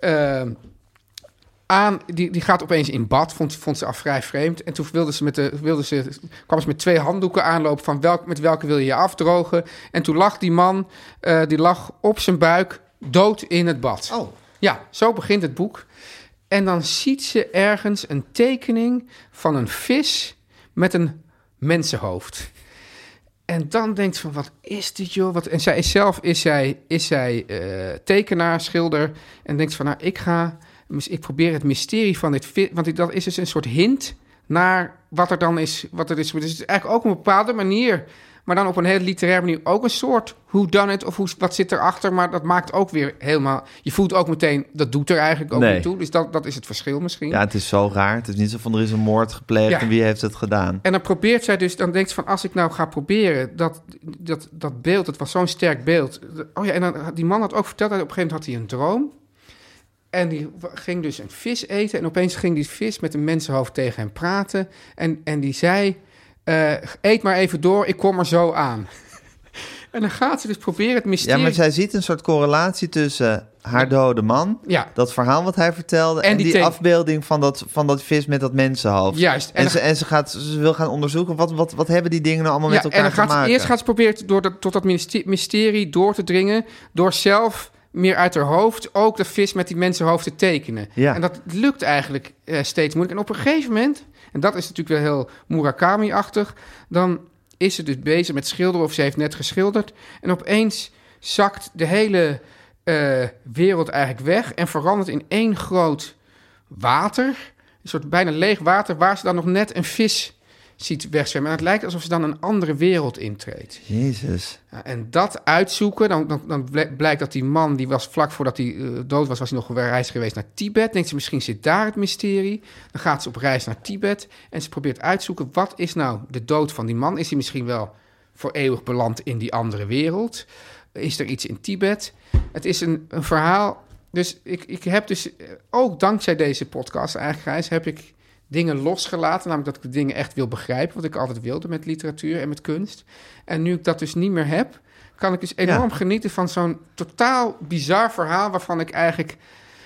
eh, aan, die, die gaat opeens in bad, vond, vond ze af vrij vreemd. En toen wilde ze met de, wilde ze, kwam ze met twee handdoeken aanlopen van welk, met welke wil je je afdrogen. En toen lag die man, eh, die lag op zijn buik, dood in het bad. Oh. Ja, zo begint het boek. En dan ziet ze ergens een tekening van een vis met een mensenhoofd. En dan denkt ze van, wat is dit joh? Wat... En zij is zelf is zij, is zij eh, tekenaar, schilder. En denkt van, nou, ik ga... Ik probeer het mysterie van dit... vi- Want dat is dus een soort hint naar wat er dan is. Wat er is. Dus het is eigenlijk ook op een bepaalde manier... Maar dan op een hele literaire manier ook een soort hoe dan het of hoe, wat zit erachter. Maar dat maakt ook weer helemaal. Je voelt ook meteen, dat doet er eigenlijk ook Nee. niet toe. Dus dat, dat is het verschil misschien. Ja, het is zo raar. Het is niet zo van er is een moord gepleegd Ja. en wie heeft het gedaan. En dan probeert zij dus, dan denkt ze van als ik nou ga proberen, dat, dat, dat beeld, het was zo'n sterk beeld. Oh ja, en dan, had- die man had ook verteld, dat op een gegeven moment had hij een droom. En die w- ging dus een vis eten en opeens ging die vis met een mensenhoofd tegen hem praten. En, en die zei, eh, eet maar even door, ik kom er zo aan. en dan gaat ze dus proberen het mysterie... Ja, maar zij ziet een soort correlatie tussen haar dode man, Ja. dat verhaal wat hij vertelde, en, En die die, teken- afbeelding van dat, van dat vis met dat mensenhoofd. Juist. En, En ze, dan- en ze, gaat, ze wil gaan onderzoeken wat, wat, wat hebben die dingen nou allemaal Ja, met elkaar en dan te gaat ze- maken. eerst gaat ze proberen te- door dat, tot dat ministerie, mysterie door te dringen... door zelf meer uit haar hoofd ook de vis met die mensenhoofd te tekenen. Ja. En dat lukt eigenlijk eh, steeds moeilijk. En op een gegeven moment, en dat is natuurlijk wel heel Murakami-achtig... dan is ze dus bezig met schilderen of ze heeft net geschilderd... en opeens zakt de hele eh, wereld eigenlijk weg... en verandert in één groot water... Een soort bijna leeg water waar ze dan nog net een vis ziet wegzwemmen. En het lijkt alsof ze dan een andere wereld intreedt. Jezus. Ja, en dat uitzoeken, dan, dan, dan bl- blijkt dat die man, die was vlak voordat hij eh, dood was, was hij nog op reis geweest naar Tibet. Denkt ze, misschien zit daar het mysterie. Dan gaat ze op reis naar Tibet en ze probeert uitzoeken, wat is nou de dood van die man? Is hij misschien wel voor eeuwig beland in die andere wereld? Is er iets in Tibet? Het is een, een verhaal. Dus ik, ik heb dus, eh, ook dankzij deze podcast eigenlijk, Gijs, heb ik dingen losgelaten. Namelijk dat ik de dingen echt wil begrijpen, wat ik altijd wilde met literatuur en met kunst. En nu ik dat dus niet meer heb, kan ik dus enorm genieten van zo'n totaal bizar verhaal waarvan ik eigenlijk...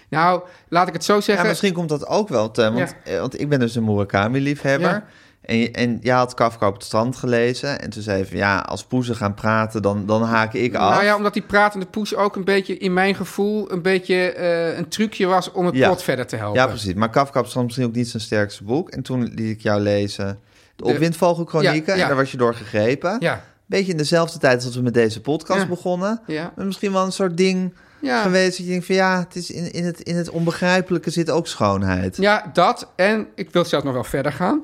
Nou, laat ik het zo Ja, zeggen. misschien komt dat ook wel, Teun, want, eh, want ik ben dus een Murakami-liefhebber. Ja. En, je- en jij had Kafka op het strand gelezen. En toen zei je van, ja, als poezen gaan praten, dan, dan haak ik af. Nou ja, omdat die pratende poes ook een beetje, in mijn gevoel, een beetje eh, een trucje was om het Ja. plot verder te helpen. Ja, precies. Maar Kafka was misschien ook niet zijn sterkste boek. En toen liet ik jou lezen De Opwindvogelchronieken. Ja, ja. En daar was je door gegrepen. Ja, Beetje in dezelfde tijd als we met deze podcast Ja. begonnen. ja. Maar misschien wel een soort ding ja. geweest dat je denkt van... ja, het is in, in, het, in het onbegrijpelijke zit ook schoonheid. Ja, dat. En ik wil zelfs nog wel verder gaan.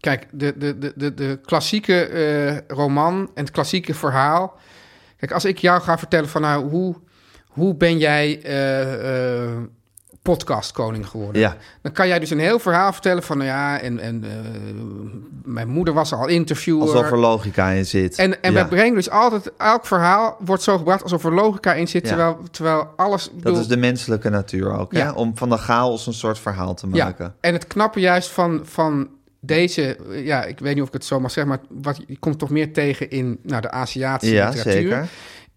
Kijk, de, de, de, de, de klassieke eh, roman en het klassieke verhaal. Kijk, als ik jou ga vertellen van nou, hoe, hoe ben jij eh, eh, podcastkoning geworden? Ja. Dan kan jij dus een heel verhaal vertellen van nou ja, en, en eh, mijn moeder was al interviewer. Alsof er logica in zit. En, en Ja. wij brengen dus altijd, elk verhaal wordt zo gebracht alsof er logica in zit, Ja. terwijl, terwijl alles... ik Dat bedoel- is de menselijke natuur ook, hè? Ja. Om van de chaos een soort verhaal te maken. Ja, en het knappe juist van, van deze, eh, ja, ik weet niet of ik het zo mag zeggen, maar wat, je komt toch meer tegen in nou, de Aziatische Ja, literatuur. zeker.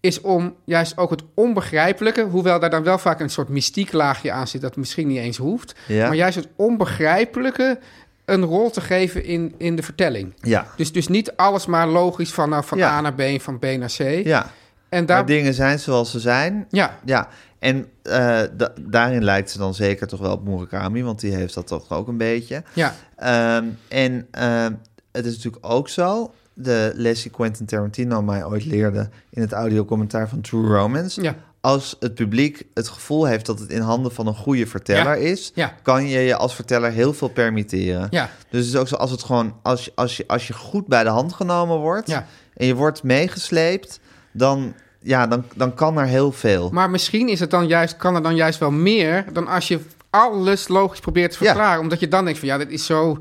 Is om juist ook het onbegrijpelijke, hoewel daar dan wel vaak een soort mystiek laagje aan zit, dat misschien niet eens hoeft, Ja. maar juist het onbegrijpelijke een rol te geven in, in de vertelling. Ja. Dus, dus niet alles maar logisch van, nou, van Ja. A naar B en van B naar C. ja. En Maar daar, dingen zijn zoals ze zijn. ja, Ja, en eh, da- daarin lijkt ze dan zeker toch wel op Murakami, want die heeft dat toch ook een beetje. ja, Ehm, en ehm, het is natuurlijk ook zo, de les die Quentin Tarantino mij ooit leerde in het audiocommentaar van True Romance. Ja. Als het publiek het gevoel heeft dat het in handen van een goede verteller Ja. is, Ja. kan je je als verteller heel veel permitteren. Ja. Dus het is ook zo als het gewoon, als je, als je, als je goed bij de hand genomen wordt Ja. en je wordt meegesleept, dan, ja, dan, dan kan er heel veel. Maar misschien is het dan juist, kan er dan juist wel meer dan als je alles logisch probeert te Ja. verklaren. Omdat je dan denkt van ja, dit is zo,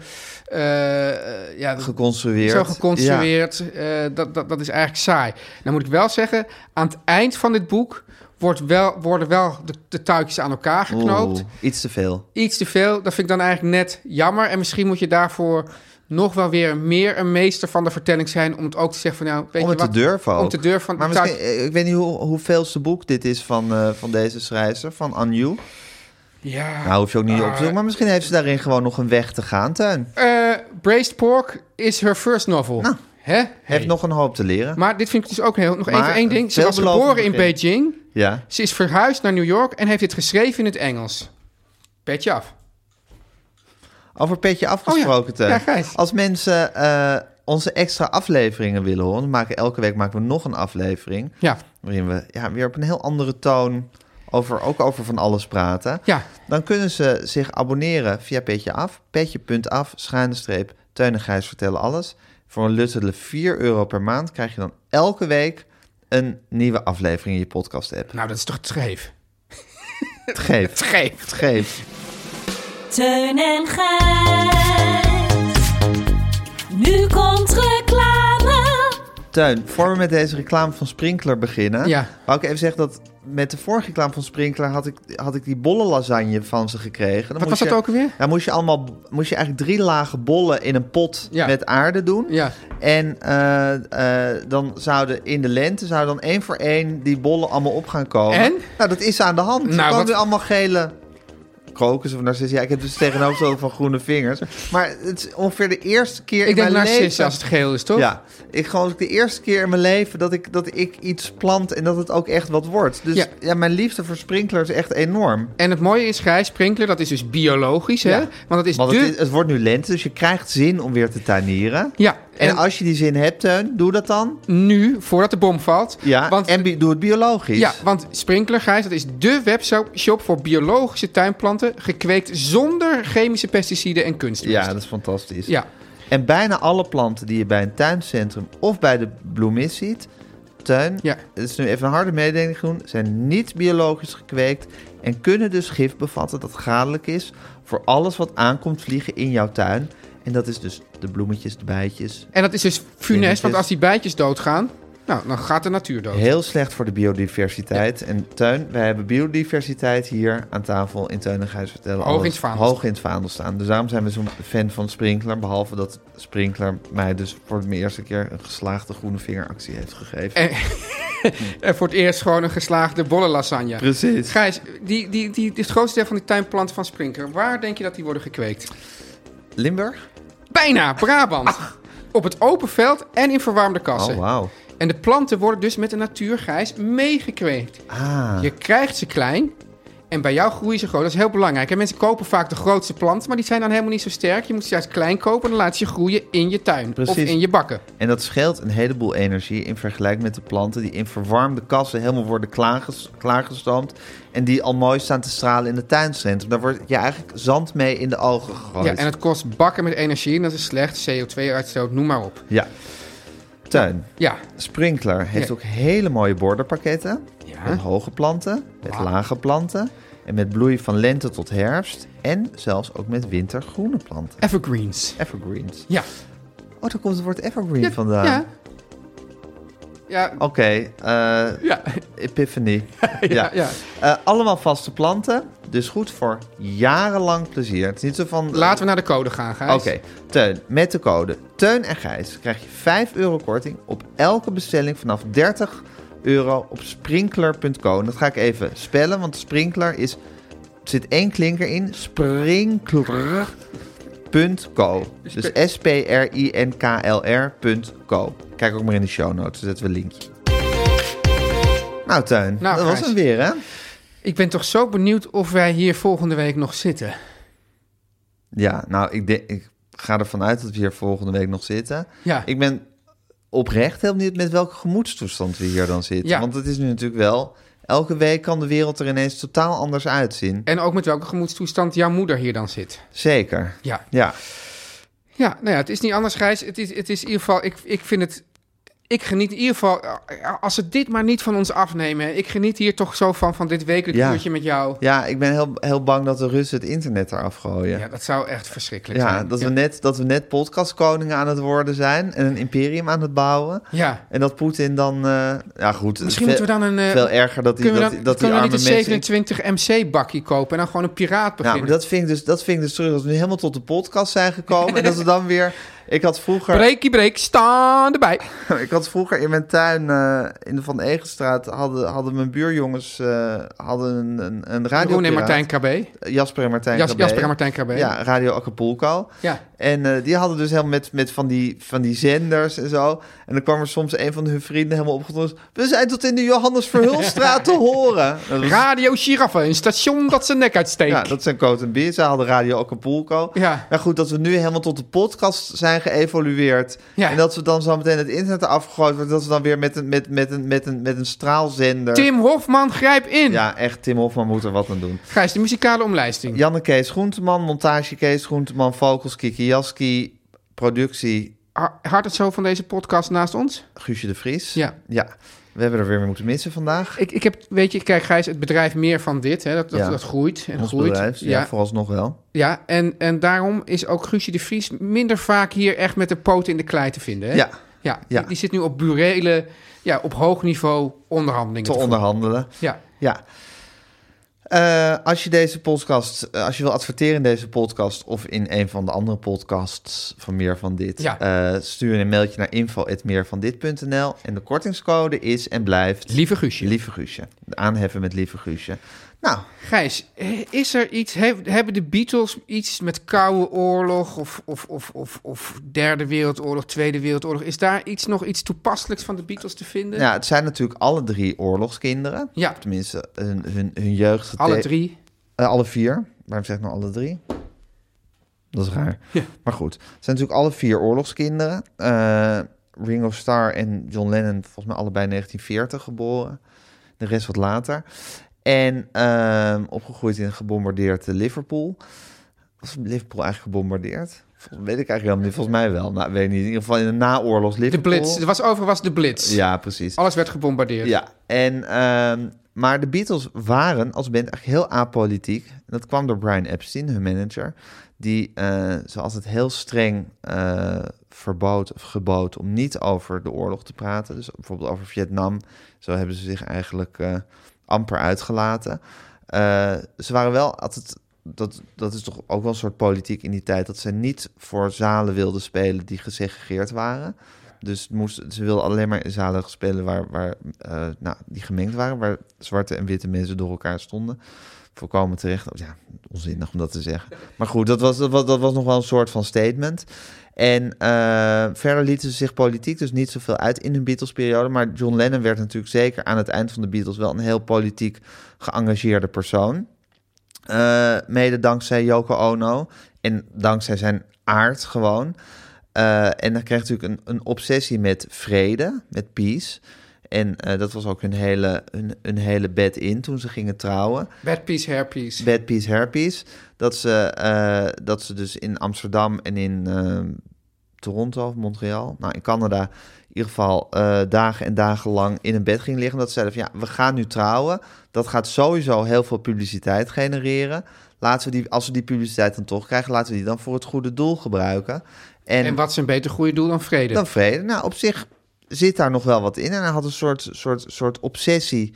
eh, eh, ja, dat- geconstrueerd. zo geconstrueerd. eh, dat, dat, dat is eigenlijk saai. Dan moet ik wel zeggen, aan het eind van dit boek wordt wel, worden wel de, de tuikjes aan elkaar Ja. geknoopt. Oeh, iets te veel. Iets te veel, dat vind ik dan eigenlijk net jammer. En misschien moet je daarvoor nog wel weer meer een meester van de vertelling zijn... om het ook te zeggen van nou, weet Om je het te wat? durven ook. Om te durven van Maar de tuik- misschien, eh, ik weet niet hoe, hoeveelste boek dit is van, eh, van deze schrijfster, van Anju. Ja. Nou, hoef je ook niet op Ah. te zoeken. Maar misschien heeft ze daarin gewoon nog een weg te gaan, Teun. Eh, Braised Pork is her first novel. Hè? Nou, Heeft nog een hoop te leren. Maar dit vind ik dus ook heel... Nog Maar even één ding. Ze was veelbelovend geboren in begin. Beijing. Ja. Ze is verhuisd naar New York en heeft dit geschreven in het Engels. Petje af. Over petje afgesproken, Oh ja. Teun. Ja, Gijs. Als mensen eh, onze extra afleveringen willen horen... dan maken we elke week maken we nog een aflevering... Ja. waarin we ja, weer op een heel andere toon... Over, ook over van alles praten. Ja. Dan kunnen ze zich abonneren via Petje Af. Petje.af, schuine streep, Teun en Gijs vertellen alles. Voor een luttele 4 euro per maand krijg je dan elke week... een nieuwe aflevering in je podcast-app. Nou, dat is toch scheef? Het geeft, Scheef. het geeft. Teun en Gijs. Nu komt reclame. Teun, voor we met deze reclame van Sprinkler beginnen... Ja. wou ik even zeggen dat met de vorige reclame van Sprinkler... had ik, had ik die bolle lasagne van ze gekregen. Dan Wat moest was dat je- ook alweer? Ja, moest je, allemaal, moest je eigenlijk drie lagen bollen in een pot Ja. met aarde doen. Ja. En eh, eh, dan zouden in de lente zouden dan één voor één die bollen allemaal op gaan komen. En? Nou, dat is aan de hand. Nou, Nou, komen wat- weer allemaal gele krokus of narcissen. Ja, ik heb dus tegenover van groene vingers. Maar het is ongeveer de eerste keer Ik in denk mijn narcissen leven... als het geel is, toch? Ja, ik gewoon de eerste keer in mijn leven dat ik, dat ik iets plant en dat het ook echt wat wordt. Dus Ja. ja, mijn liefde voor sprinklers is echt enorm. En het mooie is, Gijs Sprinkler, dat is dus biologisch, hè? Ja. Want dat is Want de... het, is- het wordt nu lente, dus je krijgt zin om weer te tuinieren. Ja. En, als je die zin hebt, Teun, doe dat dan. nu, voordat de bom valt... Ja, want en bi- doe het biologisch. Ja, want Sprinkler, Gijs, dat is dé webshop voor biologische tuinplanten... gekweekt zonder chemische pesticiden en kunstmest. Ja, dat is fantastisch. Ja. En bijna alle planten die je bij een tuincentrum of bij de bloemist ziet, tuin, Ja. het is nu even een harde mededeling doen, zijn niet biologisch gekweekt en kunnen dus gif bevatten dat schadelijk is voor alles wat aankomt vliegen in jouw tuin. En dat is dus de bloemetjes, de bijtjes. En dat is dus funest, Dingetjes. want als die bijtjes doodgaan... nou, dan gaat de natuur dood. Heel slecht voor de biodiversiteit. En tuin, wij hebben biodiversiteit hier aan tafel in Tuin en Gijs vertellen. Hoog in alles het vaandel. Hoog in het vaandel staan. Dus daarom zijn we zo'n fan van Sprinkler. Behalve dat Sprinkler mij dus voor de eerste keer een geslaagde groene vingeractie heeft gegeven. En, en voor het eerst gewoon een geslaagde bolle lasagne. Precies. Gijs, die, die, die, het grootste deel van die tuinplanten van Sprinkler... waar denk je dat die worden gekweekt? Limburg? Bijna, Brabant. Op het open veld en in verwarmde kassen. Ah. Oh, wauw. En de planten worden dus met de natuurgijs meegekweekt. Ah, Je krijgt ze klein en bij jou groeien ze groot. Dat is heel belangrijk. En mensen kopen vaak de grootste planten, maar die zijn dan helemaal niet zo sterk. Je moet ze juist klein kopen en dan laat ze je groeien in je tuin of Precies. in je bakken. en dat scheelt een heleboel energie in vergelijking met de planten die in verwarmde kassen helemaal worden klaarges klaargestoomd. En die al mooi staan te stralen in het tuincentrum. Daar wordt je eigenlijk zand mee in de ogen gegooid. Ja, en het kost bakken met energie en dat is slecht. CO2-uitstoot, noem maar op. Ja. Tuin. Ja, Sprinkler heeft Ja. ook hele mooie borderpakketten. Ja. Met hoge planten, met lage planten. En met bloei van lente tot herfst. En zelfs ook met wintergroene planten. evergreens. Evergreens. Ja. Oh, daar komt het woord evergreen Ja, vandaan. Ja. Ja, Oké, eh, ja, epiphany. ja, ja. Eh, allemaal vaste planten, dus goed voor jarenlang plezier. Het is niet zo van... Laten we naar de code gaan, Gijs. Oké, Teun, met de code Teun en Gijs krijg je 5 euro korting op elke bestelling vanaf 30 euro op sprinkler.co. En Dat ga ik even spellen, want sprinkler is, er zit één klinker in, sprinkler.co. Dus S-P-R-I-N-K-L-R.co. Kijk ook maar in de show notes, daar zetten we een linkje. Nou, Teun, Nou, dat Gijs. was hem weer, hè? Ik ben toch zo benieuwd of wij hier volgende week nog zitten. Ja, nou, ik, denk, ik ga ervan uit dat we hier volgende week nog zitten. Ja. Ik ben oprecht heel benieuwd met welke gemoedstoestand we hier dan zitten. Ja. Want het is nu natuurlijk wel... Elke week kan de wereld er ineens totaal anders uitzien. En ook met welke gemoedstoestand jouw moeder hier dan zit. Zeker. Ja. Ja, Ja, nou ja, het is niet anders, Gijs. Het is, het is in ieder geval, ik, ik vind het. Ik geniet in ieder geval, eh, als ze dit maar niet van ons afnemen. hè. Ik geniet hier toch zo van, van dit wekelijk Ja. uurtje met jou. ja ik ben heel, heel bang dat de Russen het internet eraf gooien. Ja, Ja, dat zou echt verschrikkelijk zijn. dat, ja. We net, dat we net podcastkoningen aan het worden zijn... en een imperium aan het bouwen. Ja. En dat Poetin dan... eh, ja, goed. Misschien veel- moeten we dan een... eh, Veel erger dat die, kunnen we dat, die- dan, dat die kunnen we arme niet mensen... in- een 27 MC-bakkie kopen en dan gewoon een piraat Nou, beginnen? maar dat vind, ik dus, dat vind ik dus terug. Dat we nu helemaal tot de podcast zijn gekomen. en dat we dan weer Ik had vroeger... Breekie breek, staan erbij. Ik had vroeger in mijn tuin eh, in de Van Egenstraat hadden, hadden mijn buurjongens eh, hadden een, een, een radio. Jeroen en Martijn KB. Jasper en Martijn. Jas, KB. Jasper en Martijn KB. Ja, Radio Acapulco. Ja. En eh, die hadden dus helemaal met, met van, die, van die zenders en zo. En dan kwam er soms een van hun vrienden helemaal opgetoond. We zijn tot in de Johannes Verhulstraat te horen. Dat was- Radio Giraffe, een station dat zijn nek uitsteekt. ja, dat zijn Coat en Beer. Ze hadden Radio Acapulco. Ja. Maar goed, dat we nu helemaal tot de podcast zijn geëvolueerd. Ja. En dat we dan zo meteen het internet afgegooid worden. Dat we dan weer met een, met, met een, met een, met een straalzender... Tim Hofman, grijp in. Ja, echt, Tim Hofman moet er wat aan doen. Gijs, de muzikale omlijsting. Janne Kees Groenteman, montage Kees Groenteman, vocals Kiki Jaski, productie Ha- Hard het zo van deze podcast naast ons? Guusje de Vries. Ja. Ja, we hebben er weer mee moeten missen vandaag. Ik, ik heb, weet je, kijk Gijs, het bedrijf meer van dit. Hè, dat, dat, Ja. dat groeit en Ons groeit. bedrijf, ja, ja, vooralsnog wel. ja, en, en daarom is ook Guusje de Vries minder vaak hier echt met de poten in de klei te vinden. Hè? Ja, Ja, Ja. Die, die zit nu op burele, ja, op hoog niveau onderhandelingen. te te voeren. onderhandelen. Ja. Ja. Eh, als je deze podcast, eh, als je wil adverteren in deze podcast of in een van de andere podcasts van meer van dit, Ja. eh, stuur een mailtje naar info@meervandit.nl en de kortingscode is en blijft Lieve Guusje. lieve Guusje. Aanheffen met lieve Guusje. Nou, Gijs, eh, is er iets, he- hebben de Beatles iets met Koude Oorlog of, of, of, of, of Derde Wereldoorlog, Tweede Wereldoorlog? Is daar iets, nog iets toepasselijks van de Beatles te vinden? ja, het zijn natuurlijk alle drie oorlogskinderen. Ja. Tenminste, hun, hun, hun jeugd. Alle drie. Eh, alle vier. Waarom zeg ik nou alle drie? Dat is raar. Maar goed, het zijn natuurlijk alle vier oorlogskinderen. Eh, Ringo Starr en John Lennon, volgens mij allebei 1940 geboren. De rest wat later. En ehm, opgegroeid in gebombardeerd eh, Liverpool. Was Liverpool eigenlijk gebombardeerd? Volgens, weet ik eigenlijk helemaal niet. Volgens mij wel. Nou, weet ik niet. In ieder geval in de naoorlogs De Liverpool. Blitz. Er was overigens de Blitz. Ja, precies. Alles werd gebombardeerd. Ja, en, ehm, maar de Beatles waren als band echt heel apolitiek. En dat kwam door Brian Epstein, hun manager. Die eh ze altijd heel streng eh, verbood of gebood om niet over de oorlog te praten. Dus bijvoorbeeld over Vietnam. Zo hebben ze zich eigenlijk eh, amper uitgelaten. Eh, ze waren wel altijd. Dat, dat is toch ook wel een soort politiek in die tijd. Dat ze niet voor zalen wilden spelen die gesegregeerd waren. Dus moest, ze wilden alleen maar in zalen spelen waar, waar, eh, nou, die gemengd waren, waar zwarte en witte mensen door elkaar stonden. Voorkomen terecht. oh Ja, onzinnig om dat te zeggen. Maar goed, dat was, dat was, dat was nog wel een soort van statement. En eh, verder lieten ze zich politiek dus niet zoveel uit in hun Beatles-periode. Maar John Lennon werd natuurlijk zeker aan het eind van de Beatles wel een heel politiek geëngageerde persoon. Eh, mede dankzij Yoko Ono en dankzij zijn aard gewoon. Eh, en dan kreeg je natuurlijk een, een obsessie met vrede, met peace. En eh, dat was ook hun hele, hun, hun hele bed in toen ze gingen trouwen. Bad Piece, Hair Piece. Bad Peace, Hairpiece. Dat ze, eh, dat ze dus in Amsterdam en in eh, Toronto of Montreal, nou in Canada, in ieder geval eh, dagen en dagen lang in een bed ging liggen. Dat ze zeiden van ja, we gaan nu trouwen. Dat gaat sowieso heel veel publiciteit genereren. Laten we die, als we die publiciteit dan toch krijgen, laten we die dan voor het goede doel gebruiken. En, wat is een beter goede doel dan vrede? Dan vrede. Nou, op zich zit daar nog wel wat in. En hij had een soort, soort, soort obsessie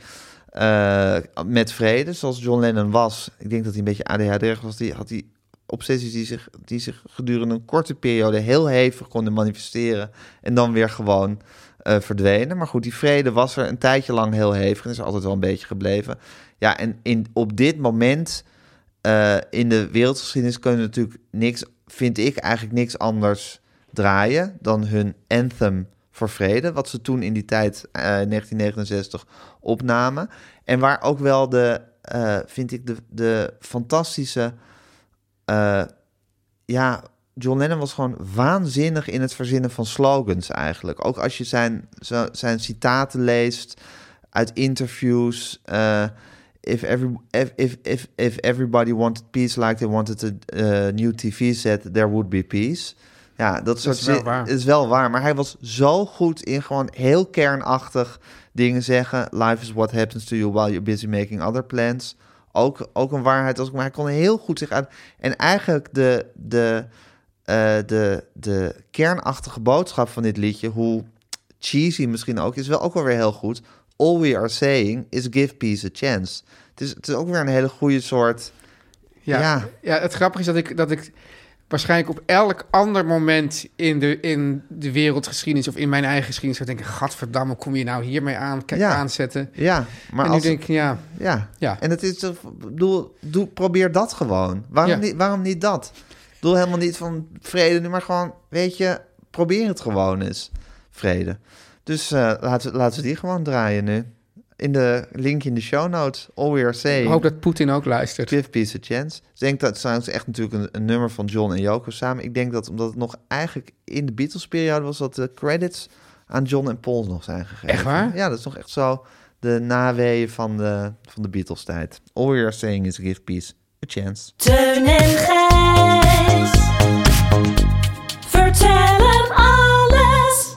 eh, met vrede, zoals John Lennon was. Ik denk dat hij een beetje ADHD was. Die had die obsessies die zich, die zich gedurende een korte periode heel hevig konden manifesteren. En dan weer gewoon eh, verdwenen. Maar goed, die vrede was er een tijdje lang heel hevig. En is er altijd wel een beetje gebleven. Ja, en in, op dit moment eh, in de wereldgeschiedenis kunnen natuurlijk niks, vind ik eigenlijk niks anders draaien dan hun anthem voor vrede, wat ze toen in die tijd, eh 1969, opnamen. En waar ook wel de, eh, vind ik, de, de fantastische, eh, ja, John Lennon was gewoon waanzinnig in het verzinnen van slogans eigenlijk. Ook als je zijn, zo- zijn citaten leest uit interviews. eh, if, every, if, if, if, if everybody wanted peace like they wanted a eh, new TV set, there would be peace. Ja, dat, soort is wel zi- waar. is wel waar. Maar hij was zo goed in gewoon heel kernachtig dingen zeggen. Life is what happens to you while you're busy making other plans. Ook, ook een waarheid als ik maar hij kon heel goed zich uit. En eigenlijk de, de, eh, de, de kernachtige boodschap van dit liedje, hoe cheesy misschien ook, is wel ook wel weer heel goed. All we are saying is give peace a chance. Het is, het is ook weer een hele goede soort. Ja. Ja. ja, het grappige is dat ik, dat ik waarschijnlijk op elk ander moment in de, in de wereldgeschiedenis of in mijn eigen geschiedenis zou denken: Gadverdamme, kom je nou hiermee aan, kijk, Ja. aanzetten. Ja, maar en als, nu denk ik, ja, ja. Ja. En het is, toch- bedoel, doe, probeer dat gewoon. Waarom, Ja. niet, waarom niet dat? Doe helemaal niet van vrede nu, maar gewoon, weet je, probeer het gewoon eens, vrede. Dus eh, laten, we- laten we die gewoon draaien nu. In de link in de show notes, all we are ik saying. hoop dat Poetin ook luistert. Give Peace a Chance. Ik denk dat trouwens echt natuurlijk een, een nummer van John en Yoko samen. Ik denk dat omdat het nog eigenlijk in de Beatles-periode was... dat de credits aan John en Paul nog zijn gegeven. Echt waar? Ja, dat is nog echt zo de naweeën van de, van de Beatles-tijd. All we are saying is give peace a chance. Teun en Gijs. Vertel hem alles.